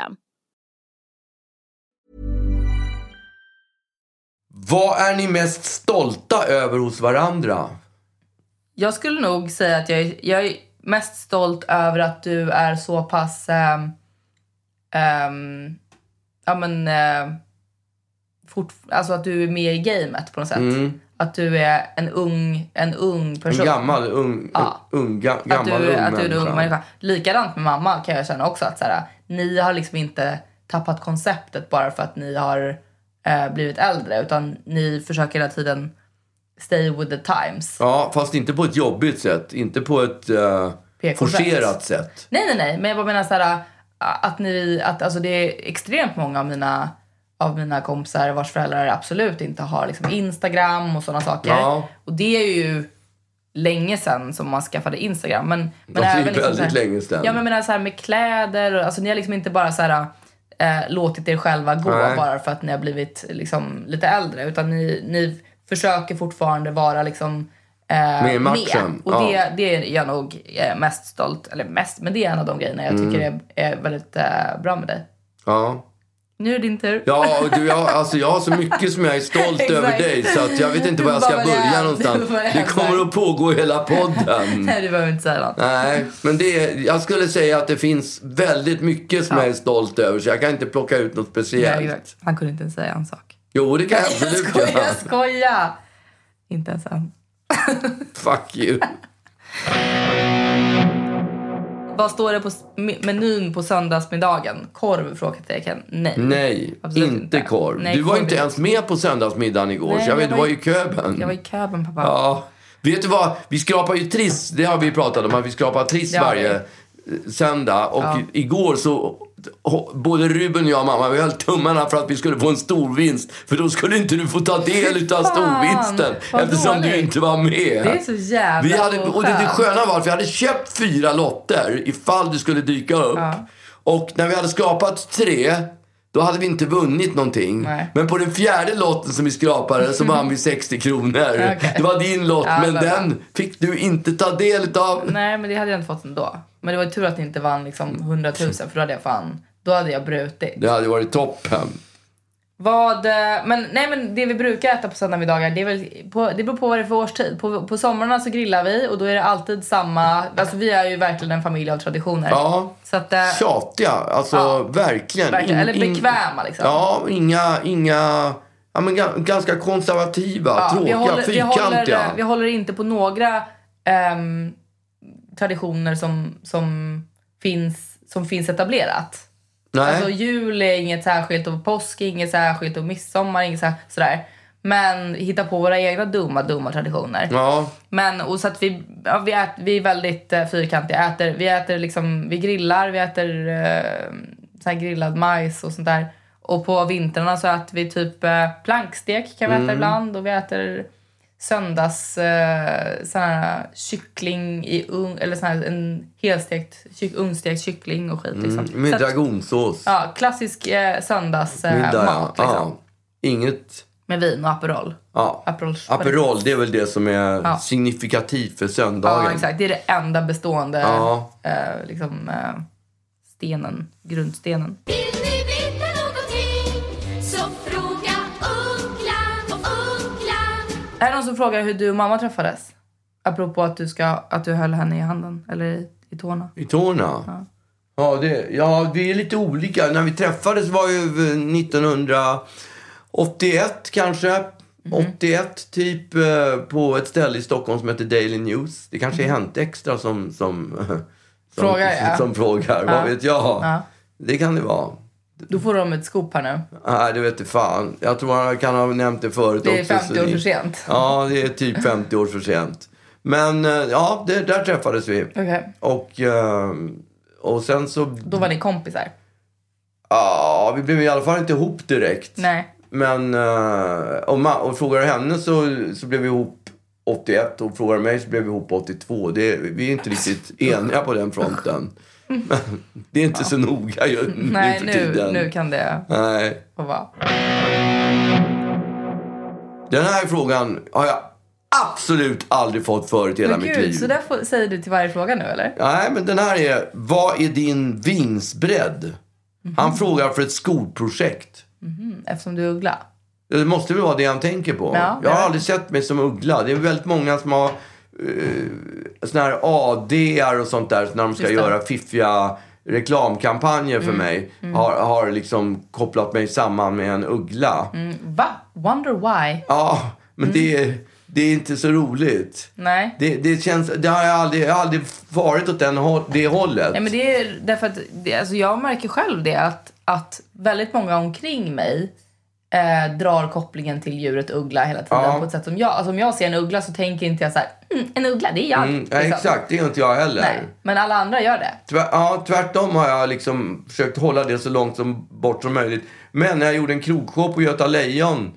Vad är ni mest stolta över hos varandra? Jag skulle nog säga att jag, är- jag är mest stolt över att du är så pass... ehm, ehm, ja, men... eh, fort, alltså att du är med i gamet på något sätt. Att du är en ung, en ung Mm. En person. gammal, ung, Ja. ung, ga, gammal, att du, ung att du är en ung människa. människa. Likadant med mamma kan jag känna också. att så här, Ni har liksom inte tappat konceptet bara för att ni har eh, blivit äldre. Utan ni försöker hela tiden stay with the times. Ja, fast inte på ett jobbigt sätt. Inte på ett eh, PK-sätt. forcerat sätt. Nej, nej, nej. Men jag bara menar så här, äh, att ni, att alltså det är extremt många av mina, av mina kompisar vars föräldrar absolut inte har liksom Instagram och sådana saker. Ja. Och det är ju länge sedan som man skaffade Instagram. Men, men det är även väldigt så här- länge sedan. Ja, men jag menar så här med kläder och, alltså ni har liksom inte bara så här eh, låtit er själva gå Nej. bara för att ni har blivit liksom lite äldre. Utan ni, ni försöker fortfarande vara liksom eh, i matchen, Och ja. det, det är jag nog eh, mest stolt, eller mest, men det är en av de grejerna jag tycker Mm. är, är väldigt eh, bra med dig. Ja. Nu är det din tur. Ja, och du, jag, alltså jag har så mycket som jag är stolt över Exakt. dig så att jag vet inte Du var jag ska bara, vad det börja är. någonstans. Du bara, vad det Det är. kommer att pågå hela podden. Nej, du behöver inte säga något. Nej, men det, jag skulle säga att det finns väldigt mycket som jag är stolt över så jag kan inte plocka ut något Nej, speciellt. exakt. Han kunde inte ens säga en sak. Jo, det kan jag Jag absolut skojar, göra. jag skojar! Inte ens han. Fuck you. Vad står det på s- me- menyn på söndagsmiddagen? Korv? Frågetecken. Nej. Nej, Absolut inte inte. korv. Nej, du var korv inte är- ens med på söndagsmiddagen igår Nej, så jag vet, jag du var var i- i köben. Jag var i Köben, pappa. Ja. Vet du vad? Vi skrapar ju Triss. Det har vi pratat om. Att vi skrapar Triss Det har varje eh, söndag. Och igår så... Både Ruben och jag och mamma vi höll tummarna för att vi skulle få en stor vinst. För då skulle inte du få ta del av fan, storvinsten. vad Eftersom du dåligt. inte var med. Det är så jävla vi hade, och det, det oskönt. sköna var att vi hade köpt fyra lotter ifall du skulle dyka upp. Och när vi hade skrapat tre, då hade vi inte vunnit någonting. Nej. Men på den fjärde lotten som vi skrapade så vann vi 60 kronor. Okej. Det var din lott, Ja, men vad bra. den fick du inte ta del av. Nej, men det hade jag inte fått ändå. Men det var ju tur att ni inte vann liksom Mm. 100 000 för då hade jag fan... Då hade jag brutit. Det hade varit toppen. Vad... eh, Men nej, men det vi brukar äta på söndagsmiddagar, det är väl... På, det beror på vad det är för årstid. På, på somrarna så grillar vi och då är det alltid samma... Alltså vi är ju verkligen en familj av traditioner. Ja. Så att... eh, Tjatiga, alltså Ja. verkligen. Verkligen. Eller In- in- bekväma liksom. Ja, inga, inga, ja men ga- ganska konservativa, Ja, tråkiga, vi, håller, fyrkantiga. eh, vi håller inte på några ehm, traditioner som, som, finns, som finns etablerat. Nej. Alltså jul är inget särskilt och påsk är inget särskilt och midsommar är inget sär- sådär. Men hitta på våra egna dumma, dumma traditioner. ja. Men och så att vi, ja, vi, ät, vi är väldigt eh, fyrkantiga. Äter, vi äter liksom, vi grillar, vi äter eh, så här grillad majs och sånt där. Och på vintrarna så äter vi typ eh, plankstek kan vi Mm. äta ibland och vi äter söndags eh, sån här kyckling i ugn, eller sån här en helstekt, kyck, ugnstekt kyckling och skit liksom. Med så att, dragonsås. ja, klassisk eh, söndags eh, Middag, mat ja. liksom. ja. Inget... Med vin och Aperol. Ja. Aperol. Aperol, det är väl det som är Ja. signifikativt för söndagen. Ja, exakt. Det är det enda bestående Ja. eh, liksom, eh, stenen, grundstenen. Vill ni veta någonting så fråga Ugglan och Ugglan. Är det någon som frågar hur du och mamma träffades? Apropå att du, ska, att du höll henne i handen, eller i, i tårna. I tårna. Ja. Ja, det, ja, vi är lite olika. När vi träffades var ju eh, 1981 kanske. Mhm. 81 typ eh, på ett ställe i Stockholm som heter Daily News. Det kanske är Hänt Extra som, som, eh, som, Mhm. Frågar, ja. som frågar. Vad vet jag? Ja. Det kan det vara. Då får de ett scoop här nu. Nej, det vet du fan. Jag tror han kan ha nämnt det förut Det är också, 50 så år det- för sent. Ja, det är typ 50 år för sent. Men eh, ja, det, där träffades vi. Okej. Och, eh, och sen så... Då var ni kompisar? Ja, vi blev i alla fall inte ihop direkt. Nej. Men eh, och, ma- och frågar du henne så, så blev vi ihop 81 och frågar du mig så blev vi ihop 82. Det, vi är inte riktigt eniga på den fronten. Men det är inte så noga ju, Nej, för nu, Mm, tiden. nu kan det Nej. få vara. Den här frågan har jag absolut aldrig fått förut i hela Men mitt gud, liv. så där får, säger du till varje fråga nu eller? Nej, men den här är, vad är din Mhm. vingsbredd? Han frågar för ett skolprojekt. Eftersom du är uggla. Det måste väl vara det han tänker på. Ja, jag har ja. aldrig sett mig som uggla. Det är väldigt många som har eh, såna här ADR och sånt där. så När de ska göra fiffiga reklamkampanjer Mm. för mig. Har, har liksom kopplat mig samman med en uggla. Va? Wonder why? Ja, men det, Mm. är, det är inte så roligt. Nej. Det, det känns... Det har jag aldrig... Jag har aldrig varit åt den, hå- det hållet. Nej, men det är därför att det, alltså jag märker själv det att, att väldigt många omkring mig eh, drar kopplingen till djuret uggla hela tiden Ja. på ett sätt som jag, alltså om jag ser en uggla så tänker inte jag så här, mm, en uggla det är jag. Mm, ja, liksom. exakt, det är inte jag heller. Nej, men alla andra gör det. Tvär, ja, tvärtom har jag liksom försökt hålla det så långt som, bort som möjligt. Men när jag gjorde en krogshow på Göta Lejon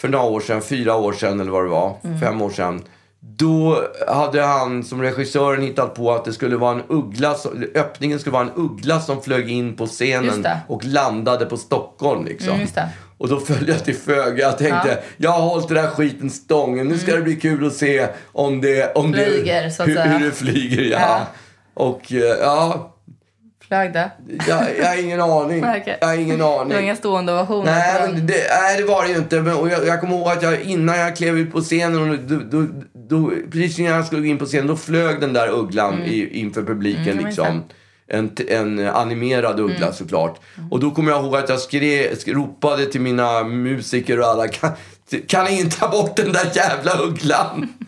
för några år sedan, fyra år sedan eller vad det var, Mm. fem år sedan. Då hade han som regissören hittat på att det skulle vara en uggla, som- öppningen skulle vara en uggla som flög in på Just scenen det. och landade på Stockholm liksom. Mm, just det. Och då följde jag till föga. Jag tänkte, jag har hållit den här skiten stången. Nu ska det bli kul att se om det... Om Mm. Flyger, det, så att hur, säga. hur det flyger, ja. Ja. Och eh, ja, Flög det? jag, jag har ingen aning. Nej, okej. Jag har ingen Det var aning. inga stående ovationer. Alltså, på Nej, den. men det, nej, det var det ju inte. Men, och jag, jag kommer ihåg att jag, innan jag klev ut på scenen, och då, då, då, precis innan jag skulle gå in på scenen, då flög den där ugglan i, inför publiken. Mm, jag minns liksom. en, t- en animerad uggla Mm. såklart. Och då kommer jag ihåg att jag skre, sk- ropade till mina musiker och alla, kan, kan ni inte ta bort den där jävla ugglan?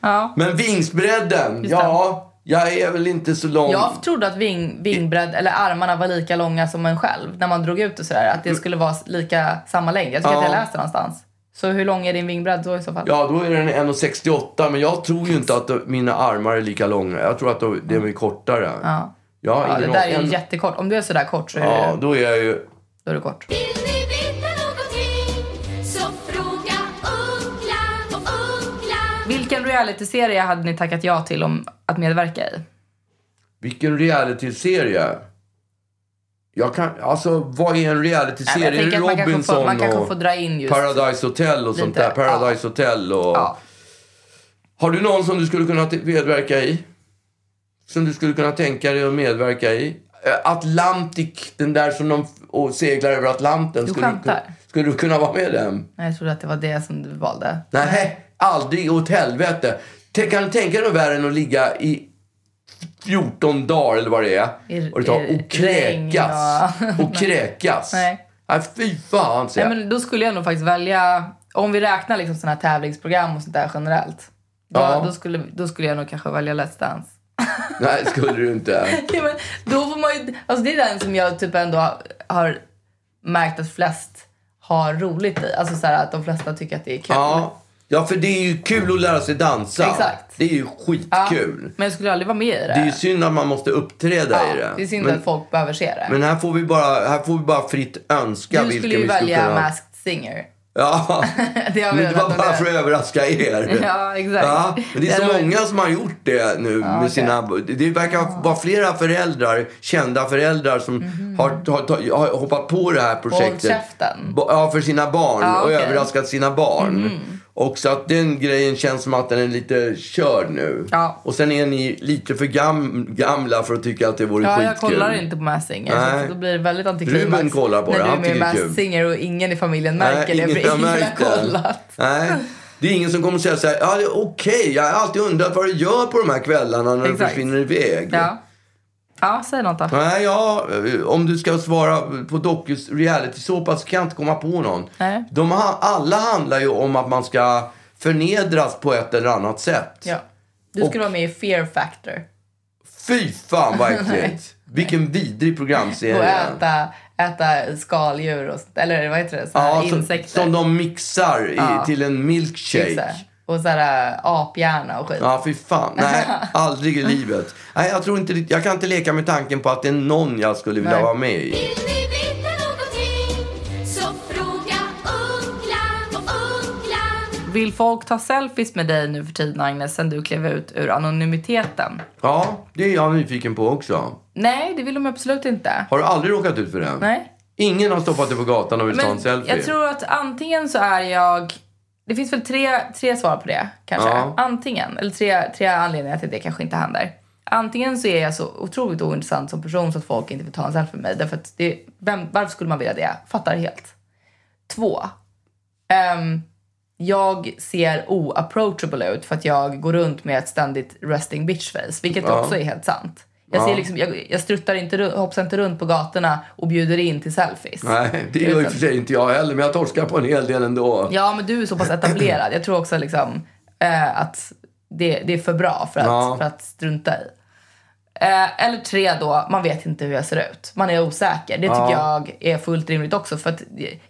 Ja. Men vingsbredden, ja. Jag är väl inte så lång. Jag trodde att ving, vingbredd, eller armarna var lika långa som en själv när man drog ut det sådär. Att det skulle vara lika, samma längd. Jag tycker Mm. Ja. att jag läste någonstans. Så hur lång är din vingbredd då i så fall? Ja, då är den 1,68 men jag tror ju inte att de- mina armar är lika långa. Jag tror att de, de är kortare. Ja. Jag har Ja, det ingen där är ju aning. jättekort. Om du är sådär kort så är, Ja, det, då är jag ju... då är det kort. Vill ni veta någonting så fråga Uggla och Uggla. Vilken realityserie hade ni tackat ja till om att medverka i? Vilken reality-serie? Jag kan... Alltså, vad är en Nej, men jag reality-serie? tänker att man kanske Robinson får- man kanske och får dra in just Paradise Hotel och sånt lite- där. Paradise Hotel och... Ja. Har du någon som du skulle kunna t- medverka i? Som du skulle kunna tänka dig att medverka i? Eh, Atlantic, den där som de f- och seglar över Atlanten. Du skulle, du, skämtar. kun- skulle du kunna vara med i den? Nej, jag trodde att det var det som du valde. Nej, aldrig åt helvete. Tänk, kan du tänka dig något värre än att ligga i 14 dagar eller vad det är I- och, det tar, i och kräkas. regn Och kräkas. Nej. Nej, fy fan säger Nej, jag. men då skulle jag nog faktiskt välja... Om vi räknar liksom sådana här tävlingsprogram och sånt där generellt. Då, Ja. då, skulle, då skulle jag nog kanske välja Let's Dance. Nej, skulle du inte. Ja, men då får man ju, alltså det är den som jag typ ändå har märkt att flest har roligt i. Alltså så här att de flesta tycker att det är kul. Ja. ja, för det är ju kul att lära sig dansa. Exakt. Det är ju Ja, skitkul. Men jag skulle aldrig vara med i det. Det är ju synd att man måste uppträda Ja, i det. det är synd men, att folk behöver se det. men här får vi bara, här får vi bara fritt önska du vilken skulle ju vi skulle välja kunna... Masked Singer. Ja. Det har vi Men det redan var bara planerat. för att överraska er. Ja, exakt. Ja, men det är så Det hade varit- många som har gjort det nu. med sina, det verkar vara flera föräldrar, kända föräldrar som har, har, har hoppat på det här projektet. Mhm. käften. Ba- Ja, för sina barn Ja, och okej. Mhm. överraskat sina barn. Och så att den grejen känns som att den är lite körd nu. Ja. Och sen är ni lite för gam, gamla för att tycka att det vore Ja, skitkul. jag kollar inte på Masked Singer. så Nej. att Då blir det väldigt antiklimax. Ruben kollar på när det, du han är med i tycker det är Masked kul. Singer och ingen i familjen märker Nej, det. ingen För har ingen har märkt det. kollat. Nej. Det är ingen som kommer säga så här, ja, det är okej, jag har alltid undrat vad du gör på de här kvällarna när du Exakt. försvinner iväg. Ja. ja, säg något då. Nej, ja, eh, om du ska svara på dokus reality-såpa så kan jag inte komma på någon. Nej. De, ha- alla handlar ju om att man ska förnedras på ett eller annat sätt. Ja. Du skulle Och- vara med i Fear Factor. Fy fan vad äckligt! Vilken vidrig Och programserie. äta, äta skaldjur och sånt, eller vad heter det? Så här, Ja, som, insekter. som de mixar i, Ja. till en milkshake. Pizza. Och så här äh, aphjärna och skit. Ja, fy fan. Nej, aldrig i livet. Nej, jag, tror inte, det- jag kan inte leka med tanken på att det är någon jag skulle vilja Nej. vara med i. Vill ni veta någonting så fråga Uggla och Uggla. Vill folk ta selfies med dig nu för tiden Agnes, sen du klev ut ur anonymiteten? Ja, det är jag nyfiken på också. Nej, det vill de absolut inte. Har du aldrig råkat ut för det? Nej. Ingen har stoppat dig på gatan och vill ta en selfie? jag tror att antingen så är jag... Det finns väl tre, tre svar på det kanske. Ja. Antingen, eller tre, tre anledningar till det kanske inte händer. Antingen så är jag så otroligt ointressant som person så att folk inte vill ta en selfie med mig. Därför att det, vem, varför skulle man vilja det? Fattar helt. Två. ehm, jag ser oapproachable ut för att jag går runt med ett ständigt resting bitch face, vilket också är helt sant. Jag, ser liksom, jag, jag struttar inte, ru- hoppsar inte runt på gatorna och bjuder in till selfies. Nej, det gör i och för sig inte jag heller, men jag torskar på en hel del ändå. Ja, men du är så pass etablerad. Jag tror också liksom, eh, att det, det är för bra för att, Ja. för att strunta i. Eh, eller tre då, man vet inte hur jag ser ut. Man är osäker. Det tycker jag är fullt rimligt också. För att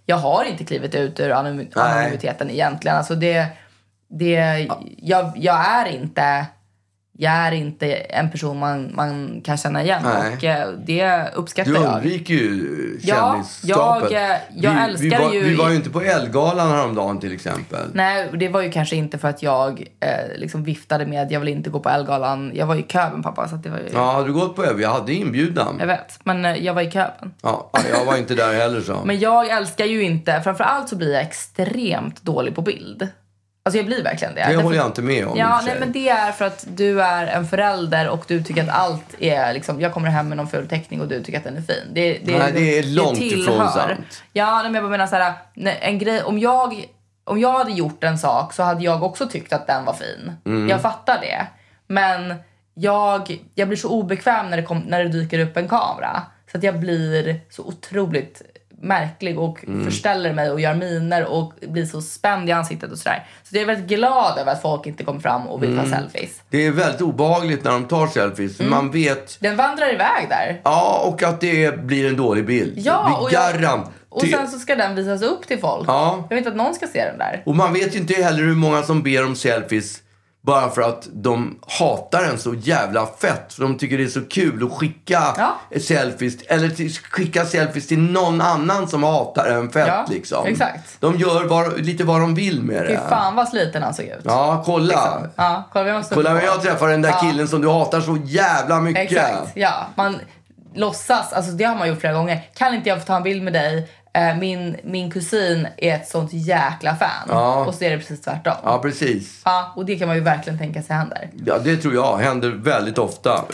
jag har inte klivit ut ur anonym- Nej. anonymiteten egentligen. Alltså det, det, jag, jag är inte... Jag är inte en person man, man kan känna igen Nej. och eh, det uppskattar Du jag. undviker ju Ja, kändisskapet. jag, eh, jag vi, vi älskar var, ju- Vi var ju inte på Ellegalan häromdagen till exempel. Nej, det var ju kanske inte för att jag eh, liksom viftade med jag vill inte gå på Ellegalan. Jag var i Köben pappa, så att det var ju... Ja, hade du gått på Ellegalan? Jag hade inbjudan. Jag vet, men eh, jag var i Köben. Ja, jag var inte där heller så. Men jag älskar ju inte, framförallt så blir jag extremt dålig på bild. Alltså jag blir verkligen det. det Därför- håller jag inte med om i och Ja, för nej sig. men det är för att du är en förälder och du tycker att allt är liksom, jag kommer hem med någon ful teckning och du tycker att den är fin. Det, det, Nej, det är långt ifrån tillhör. sant. Ja, nej, men jag bara menar såhär, nej, en grej, om jag, om jag hade gjort en sak så hade jag också tyckt att den var fin. Mm. Jag fattar det. Men jag, jag blir så obekväm när det, kom, när det dyker upp en kamera. Så att jag blir så otroligt märklig och Mm. förställer mig och gör miner och blir så spänd i ansiktet och sådär. Så jag är väldigt glad över att folk inte kommer fram och vill Mm. ta selfies. Det är väldigt obehagligt när de tar selfies. Mm. för Man vet... Den vandrar iväg där. Ja, och att det blir en dålig bild. Ja, och, Vi jag, garanterar. och sen så ska den visas upp till folk. Ja. Jag vet att någon ska se den där. Och man vet ju inte heller hur många som ber om selfies bara för att de hatar en så jävla fett. För de tycker det är så kul att skicka Ja. selfies. Eller till, skicka selfies till någon annan som hatar en fett Ja, liksom. exakt. De gör vad, lite vad de vill med Fy det. fan vad sliten han såg ut. Ja, kolla. Ja, kolla vem jag står Kolla på. vem jag träffar, den där Ja. killen som du hatar så jävla mycket. Exakt, ja. Man låtsas, alltså det har man gjort flera gånger. Kan inte jag få ta en bild med dig? Eh, Min, min kusin är ett sånt jäkla fan. Och så är det precis tvärtom. Ja. Ja, precis. och det kan man ju verkligen tänka sig händer. Ja, det tror jag händer väldigt ofta. Eh,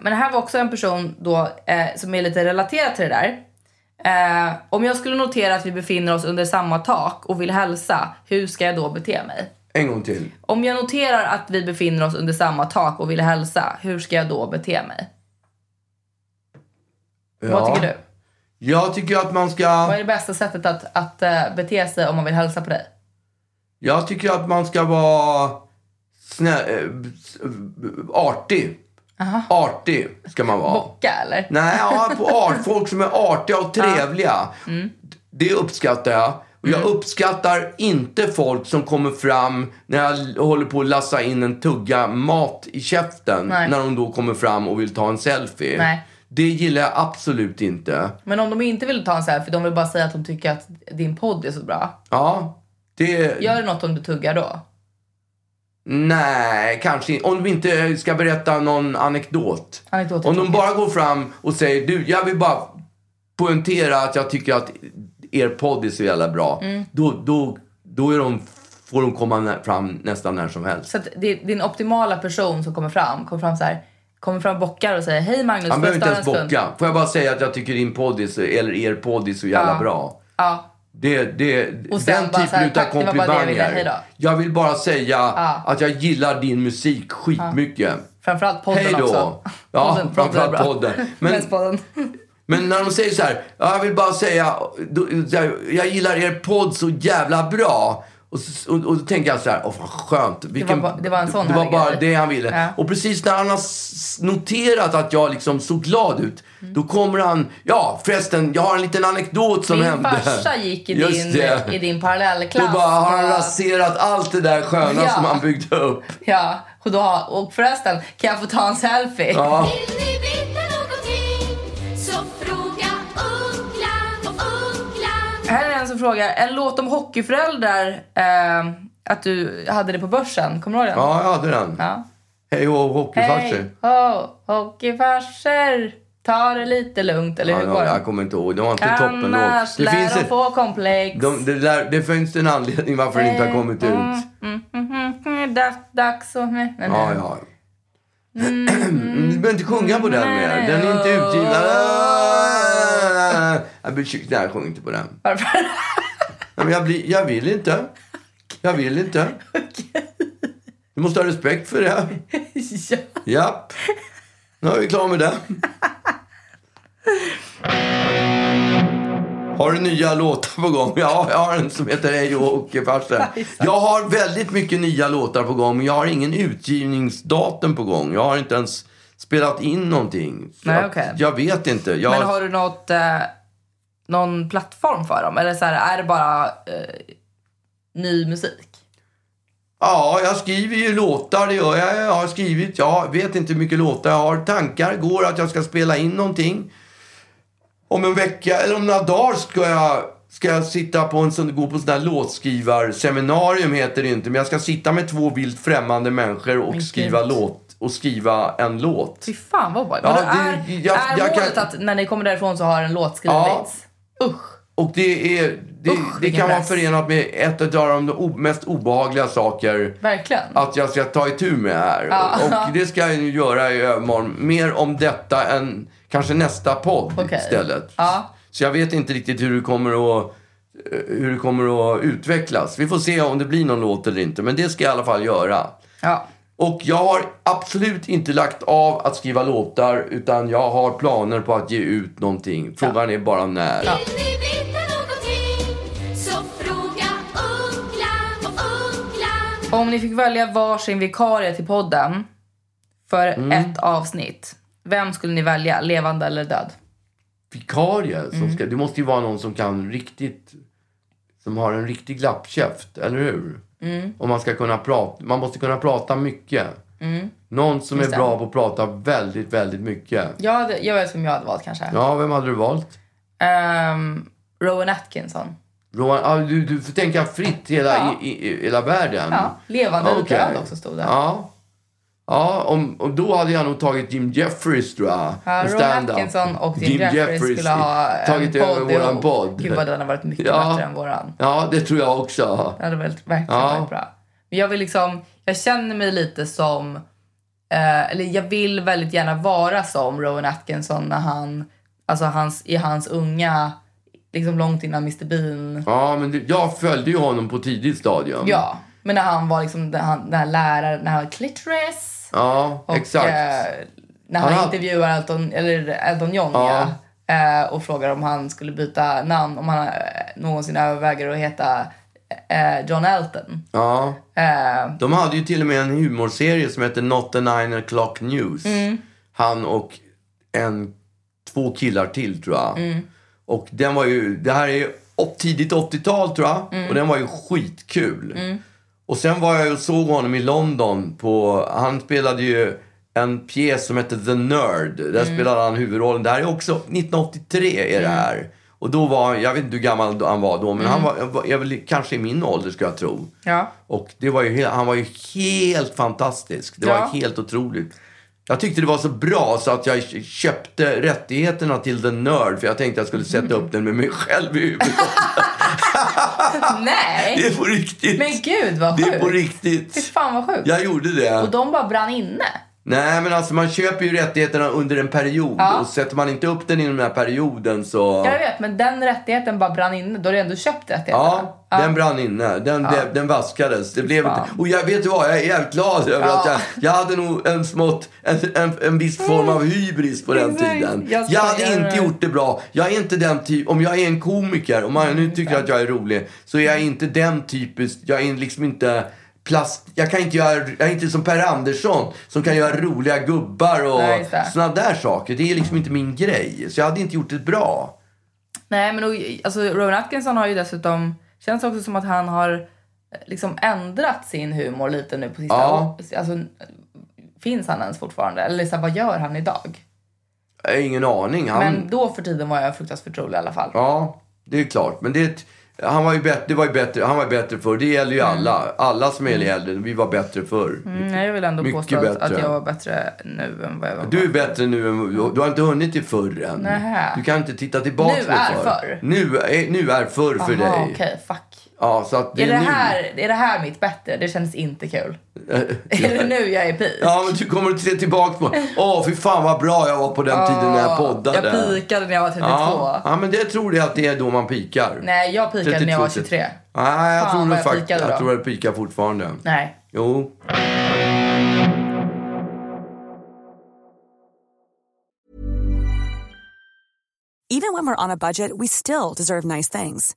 Men det här var också en person då eh, som är lite relaterad till det där. Eh, om jag skulle notera att vi befinner oss under samma tak och vill hälsa, hur ska jag då bete mig? En gång till. Om jag noterar att vi befinner oss under samma tak och vill hälsa, hur ska jag då bete mig? Vad Ja. tycker du? Jag tycker att man ska... Vad är det bästa sättet att, att eh, bete sig om man vill hälsa på dig? Jag tycker att man ska vara snä- eh, s- eh, artig. Artig ska man vara. Bocka eller? Nej, ja, på art, folk som är artiga och trevliga. Mm. Det uppskattar jag. Och jag uppskattar inte folk som kommer fram när jag l- håller på att lassa in en tugga mat i käften. Nej. När de då kommer fram och vill ta en selfie. Nej. Det gillar jag absolut inte. Men om de inte vill ta en selfie, de vill bara säga att de tycker att din podd är så bra. Ja, det... Gör det något om du tuggar då? Nej, kanske inte. Om de inte ska berätta någon anekdot. Anekdot är Om de tråkigt. bara går fram och säger du, jag vill bara poängtera att jag tycker att er podd är så jävla bra. Mm. Då, då, då är de, får de komma nä- fram nästan när som helst. Så att det, din optimala person som kommer fram, kommer fram så här, kommer fram bockar och säger hej Magnus, Han får jag behöver inte ens störa en stund?" bocka. Får jag bara säga att jag tycker din podd är så, eller er podd är så jävla bra. Ja, Det, det, Och sen den bara så här, typen av tack, det var bara det jag ville, hej då. komplimanger. Jag vill bara säga att jag gillar din musik skitmycket. framförallt podden Hej då. också. Ja, är framförallt bra. podden. Men- Men, podden. Men när de säger så här, "Ja, jag vill bara säga, då- jag gillar er podd så jävla bra. Och, s- och, och då tänker jag så här, åh fan skönt. Vilken, bara- det var en sån Det var härlig bara grej. det han ville. Ja. Och precis när han har s- noterat att jag liksom såg glad ut, Mm. då kommer han, ja förresten, jag har en liten anekdot som Min hände. farsa gick i Just din, det. i din parallellklass. Då bara har han och- raserat allt det där sköna Ja. som han byggde upp. Ja, och, då, har- och förresten, kan jag få ta en selfie? Ja. Vill ni veta någonting så fråga Uggla och Uggla. Här är en som frågar, en låt om hockeyföräldrar, eh, att du hade det på börsen, kommer du ihåg den? Ja, jag hade den. Ja. Hej och hockeyfarser. Hej, ho, hockeyfarser, ta det lite lugnt, eller Ja, hur går jag den? kommer inte ihåg. Det var inte toppen Annars Det lär finns de ett, få komplex. De, det, där, det finns en anledning varför den inte har kommit ut. Mm, dags, dags och... Nej, nej. Ja, ja. Mm, Du behöver inte sjunga på den mer. Den är inte utgiven. Jag blir tjock. Nej, jag sjunger inte på den. Varför? Nej, men jag, blir, jag vill inte. Jag vill inte. Du måste ha respekt för det. Ja. Japp. Nu är vi klara med det. Har du nya låtar på gång? Ja, jag har en som heter Hej och Åke farsen. Jag har väldigt mycket nya låtar på gång, men jag har ingen utgivningsdatum på gång. Jag har inte ens spelat in någonting. Så Nej, att okej. Jag vet inte. Jag... Men har du något, eh, någon plattform för dem? Eller så här, är det bara eh, ny musik? Ja, jag skriver ju låtar. Det gör jag. Jag har skrivit. Jag vet inte hur mycket låtar jag har. Tankar går att jag ska spela in någonting. Om en vecka eller om några dagar ska jag, ska jag sitta på en sån, gå på sån där låtskrivarseminarium heter det ju inte. Men jag ska sitta med två vilt främmande människor och skriva låt och skriva en låt. Fy fan vad bra. Ja, Men då det- är, jag- är jag målet kan- att när ni kommer därifrån så har en låt skrivits? Usch. Och det, är, det, Usch, det vilken kan vara press. förenat med ett av de o- mest obehagliga saker Verkligen. att jag ska ta itu med här. Och det ska jag ju göra i övermorgon. Mer om detta än kanske nästa podd Okej. istället. Ja. Så jag vet inte riktigt hur det kommer att eh, hur det kommer att utvecklas. Vi får se om det blir någon låt eller inte, men det ska jag i alla fall göra. Ja. Och jag har absolut inte lagt av att skriva låtar, utan jag har planer på att ge ut någonting. Frågan är bara när. Vill ni veta någonting så fråga Uggla och Uggla. Om ni fick välja varsin vikarie till podden för Mm. ett avsnitt. Vem skulle ni välja? Levande eller död? Vikarie, Mm. som ska, det måste ju vara någon som kan riktigt, som har en riktig glappkäft, eller hur? Mm. Och man ska kunna prata, man måste kunna prata mycket. Mm. Någon som är bra på att prata väldigt, väldigt mycket. Jag, hade, jag vet vem jag hade valt kanske. Ja, vem hade du valt? Ehm, Rowan Atkinson. Rowan, ah, du, du får tänka fritt hela, Ja. i, i, i, hela världen. Ja, levande eller Okej. död också stod det. Ja. Ja, om, och då hade jag nog tagit Jim Jeffries tror jag. Ja, En Rowan stand-up. Atkinson och Jim, Jeffries skulle ha en tagit podd över våran ihop. podd. Gud vad den har varit mycket Ja. bättre än våran. Ja, det tror jag också. Det hade varit, verkligen Ja. varit bra. Men jag vill liksom, jag känner mig lite som, eh, eller jag vill väldigt gärna vara som Rowan Atkinson när han, alltså hans, i hans unga, liksom långt innan Mr Bean. Ja, men det, jag följde ju honom på tidigt stadium. Ja, men när han var liksom, när han, när han läraren, när han var clitoris. Ja, Och, exakt. eh, när Han han hade- intervjuar Elton, eller Elton John Ja. ja, eh, och frågar om han skulle byta namn, om han eh, någonsin överväger att heta eh, John Elton. Ja. Eh, De hade ju till och med en humorserie som hette Not the Nine O'Clock News. Mm. Han och en, två killar till tror jag. Och den var ju, det här är ju upp- tidigt 80-tal tror jag. Och den var ju skitkul. Och sen var jag och såg honom i London på, han spelade ju en pjäs som hette The Nerd. Där spelade han huvudrollen. Det här är också 1983 är det här. Och då var jag vet inte hur gammal han var då, men han var, var, jag väl kanske i min ålder skulle jag tro. ja. Och det var ju, he- han var ju helt fantastisk. Det Ja. var helt otroligt. Jag tyckte det var så bra så att jag köpte rättigheterna till The Nerd för jag tänkte jag skulle sätta upp den med mig själv i huvudet. Det Ah, Nej! är på riktigt. Men gud vad det sjukt! är på Fy riktigt. fan vad sjukt! Jag gjorde det. Och de bara brann inne. Nej men alltså man köper ju rättigheterna under en period Ja. och sätter man inte upp den inom den här perioden så... Jag vet, men den rättigheten bara brann inne. Då har du ändå köpt rättigheterna. Ja, den brann inne. Den, blev- den vaskades. Det blev inte. Fan. Och jag vet du vad, jag är jävligt glad över Ja. att jag, jag hade nog en smått, en, en, en viss form av hybris på den Exakt. tiden. Jag Jag hade skojar. inte gjort det bra. Jag är inte den typ, om jag är en komiker, om man nu tycker att jag är rolig, så är jag inte den typiskt, jag är liksom inte plast, jag kan inte göra, jag är inte som Per Andersson som kan göra roliga gubbar och Nej, just det. sådana där saker. Det är liksom inte min grej. Så jag hade inte gjort det bra. Nej, men och, alltså, Rowan Atkinson har ju dessutom... Känns också som att han har eh, liksom ändrat sin humor lite nu på sista... Ja. Alltså, finns han ens fortfarande? Eller så här, vad gör han idag? Jag har ingen aning. Han, Men då för tiden var jag fruktansvärt rolig i alla fall. Ja, det är klart. Men det, han var ju bättre, det var ju bättre, han var ju bättre förr. Det gäller ju Mm. alla. Alla som är äldre, vi var bättre förr. Nej, Mm, jag vill ändå Mycket påstå att, bättre. att jag var bättre nu än vad jag var. Du är bättre nu än, du har inte hunnit till förr än. Nähä. Du kan inte titta tillbaka Nu på är förr. Nu är, nu är förr för Aha, dig. Okej, fuck. Ja, så att det Är är, det, nu. här, är det här mitt bättre? Det känns inte kul. är det nu jag är peak? Ja, men du kommer att se tillbaka på. Åh, fy fan vad bra jag var på den tiden när jag poddade. Jag peakade när jag var 32. ja. ja, men det tror jag att det är då man pikar. Nej, jag peakade när jag var 32. 23. Nej, jag Fan, tror vad nog jag faktiskt... peakade Jag då. tror jag pikar fortfarande. Nej. Jo. Even when we're on a budget, we still deserve nice things.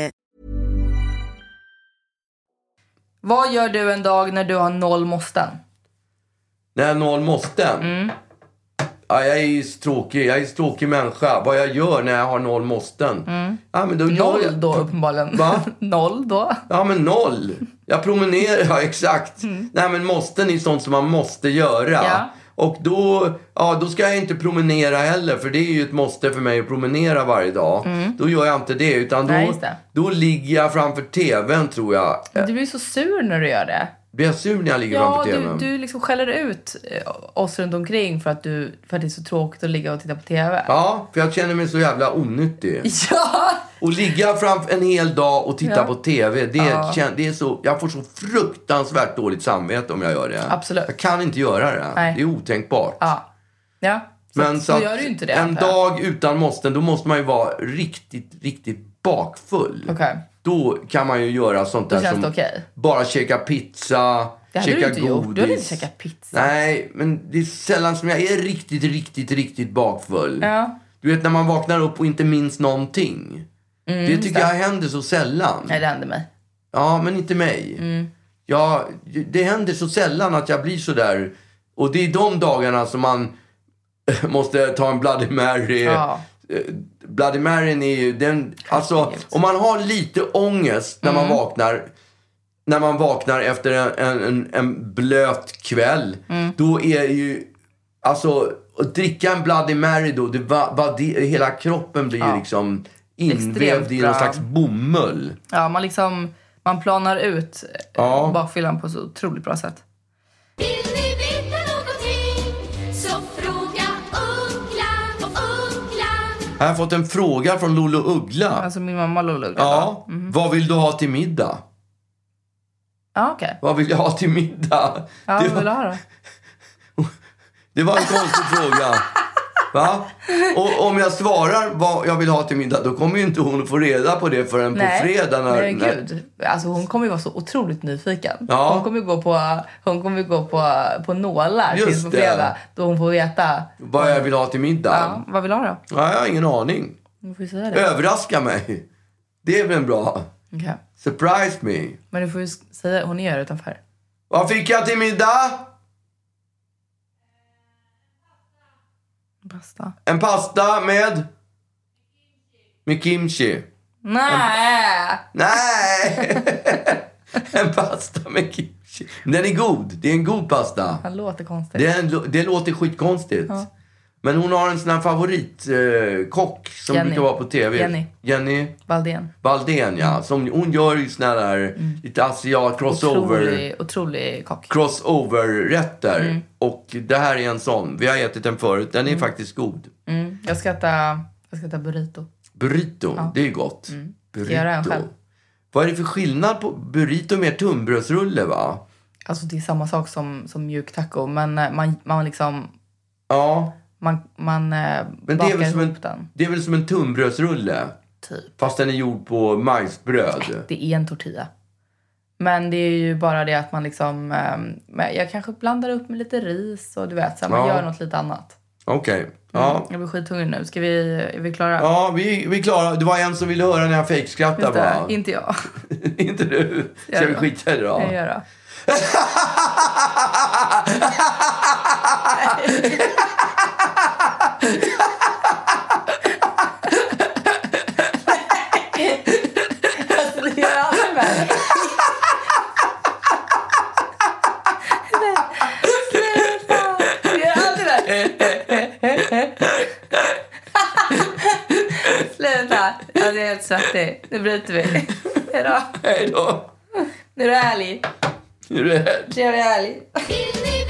Vad gör du en dag när du har noll måsten? När jag når måsten. Mm. Ja, jag är ju så tråkig. Jag är en så tråkig människa. Vad jag gör när jag har noll måsten. Ja, men då gör jag... Mm. Noll då uppenbarligen. Va? Noll då. Ja, men noll. Jag promenerar, ja exakt. Nej, men måsten är ju sånt som man måste göra. Mm. Ja. Och då, ja, då ska jag inte promenera heller, för det är ju ett måste för mig att promenera varje dag. Då gör jag inte det, utan då, Mm. Nej, just det. då ligger jag framför TVn tror jag. Men Du blir så sur när du gör det. Blir jag sur när jag ligger Ja, framför du, TVn? du liksom skäller ut eh, oss runt omkring för att, du, för att det är så tråkigt att ligga och titta på TV. Ja, för jag känner mig så jävla onyttig. Ja! Och ligga framför en hel dag och titta Ja. på TV. Det, kän, det är så, jag får så fruktansvärt dåligt samvete om jag gör det. Absolut. Jag kan inte göra det. Nej. Det är otänkbart. Ja. ja. Så, Men att- så då att gör du ju inte det. en antar jag. dag utan måsten, då måste man ju vara riktigt, riktigt bakfull. Okej. Då kan man ju göra sånt där känns som det okej. bara käka pizza, Det hade käka du inte godis. gjort. Du hade inte käkat pizza. Nej, men det är sällan som jag är riktigt, riktigt, riktigt bakfull. Ja. Du vet när man vaknar upp och inte minns någonting. det tycker jag händer så sällan. Nej, det hände mig. Ja, men inte mig. Mm. Ja, det händer så sällan att jag blir så där. Och det är de dagarna som man måste ta en Bloody Mary. Ja. Eh, Bloody Maryn är ju den... Alltså, Herregud. Mm. om man har lite ångest när man vaknar när man vaknar efter en, en, en, en blöt kväll, Mm. då är ju... Alltså, att dricka en Bloody Mary då, det, va, va, det, hela kroppen blir ju liksom invävd i någon bra. slags bomull. Ja, man liksom... Man planar ut eh, Ja. bakfyllan på så otroligt bra sätt. Vill ni veta någonting så fråga Uggla och Uggla. Jag har fått en fråga från Lolo Uggla. Alltså min mamma låg lugg. ja, Mm. vad vill du ha till middag? Ja, okej. Vad vill jag ha till middag? Ja, det, vad vill du var, ha då? det var en konstig fråga. Va? Och om jag svarar vad jag vill ha till middag, då kommer ju inte hon att få reda på det förrän på fredag. När, Nej, när- men gud. Alltså, hon kommer ju vara så otroligt nyfiken. Ja. Hon kommer ju gå på, hon kommer ju gå på, på nålar Just tills på det. fredag. Då hon får veta. Vad jag vill ha till middag? Ja, vad vill du ha då? Ja, jag har ingen aning. Du får ju säga det. Överraska mig. Det är väl en bra. Okej. Surprise me. Men du får ju s- säga, hon är ju här utanför. Vad fick jag till middag? Basta. En pasta med? Med kimchi. Nej! Nej! en pasta med kimchi. Den är god. Det är en god pasta. Han låter konstigt. Det, är en, det låter skitkonstigt. Men hon har en sån här favoritkock eh, kock som Jenny. brukar vara på tv. Jenny. Jenny Valdén. Valdén, ja. Som, hon gör ju såna där lite asiat crossover, Mm. Otrolig, otrolig kock. crossover-rätter. Mm. Och det här är en sån. Vi har ätit den förut. Den är faktiskt god. Mm. Jag ska äta, jag ska äta burrito. Burrito, det är gott. Burrito. Mm. göra en själv. Vad är det för skillnad på burrito med tunnbrödsrulle, va? Alltså det är samma sak som, som mjuk taco men eh, man, man liksom, Ja, man, man eh, men det är, bakar väl som en, ihop den. det är väl som en tunnbrödsrulle? Typ. Äh, Fast den är gjord på majsbröd. Det är en tortilla. Men det är ju bara det att man liksom, eh, men jag kanske blandar upp med lite ris och du vet, så här, man Ja. gör något lite annat. Okej. Ja. Jag blir skithungrig nu. Ska vi, är vi klara? Ja, vi, vi är klara. Det var en som ville höra när jag Just fejkskrattade det, va? inte jag. Inte du. Ska Jag vi då. skita i det då? Jag gör det. Alltså, Det gör jag aldrig med. Nej. Sluta. Det gör jag aldrig med. Sluta. Ja, det är helt svettig. Nu bryter vi. Hejdå. Hej då. Nu är du ärlig. Nu är det Trevlig helg. Vill ni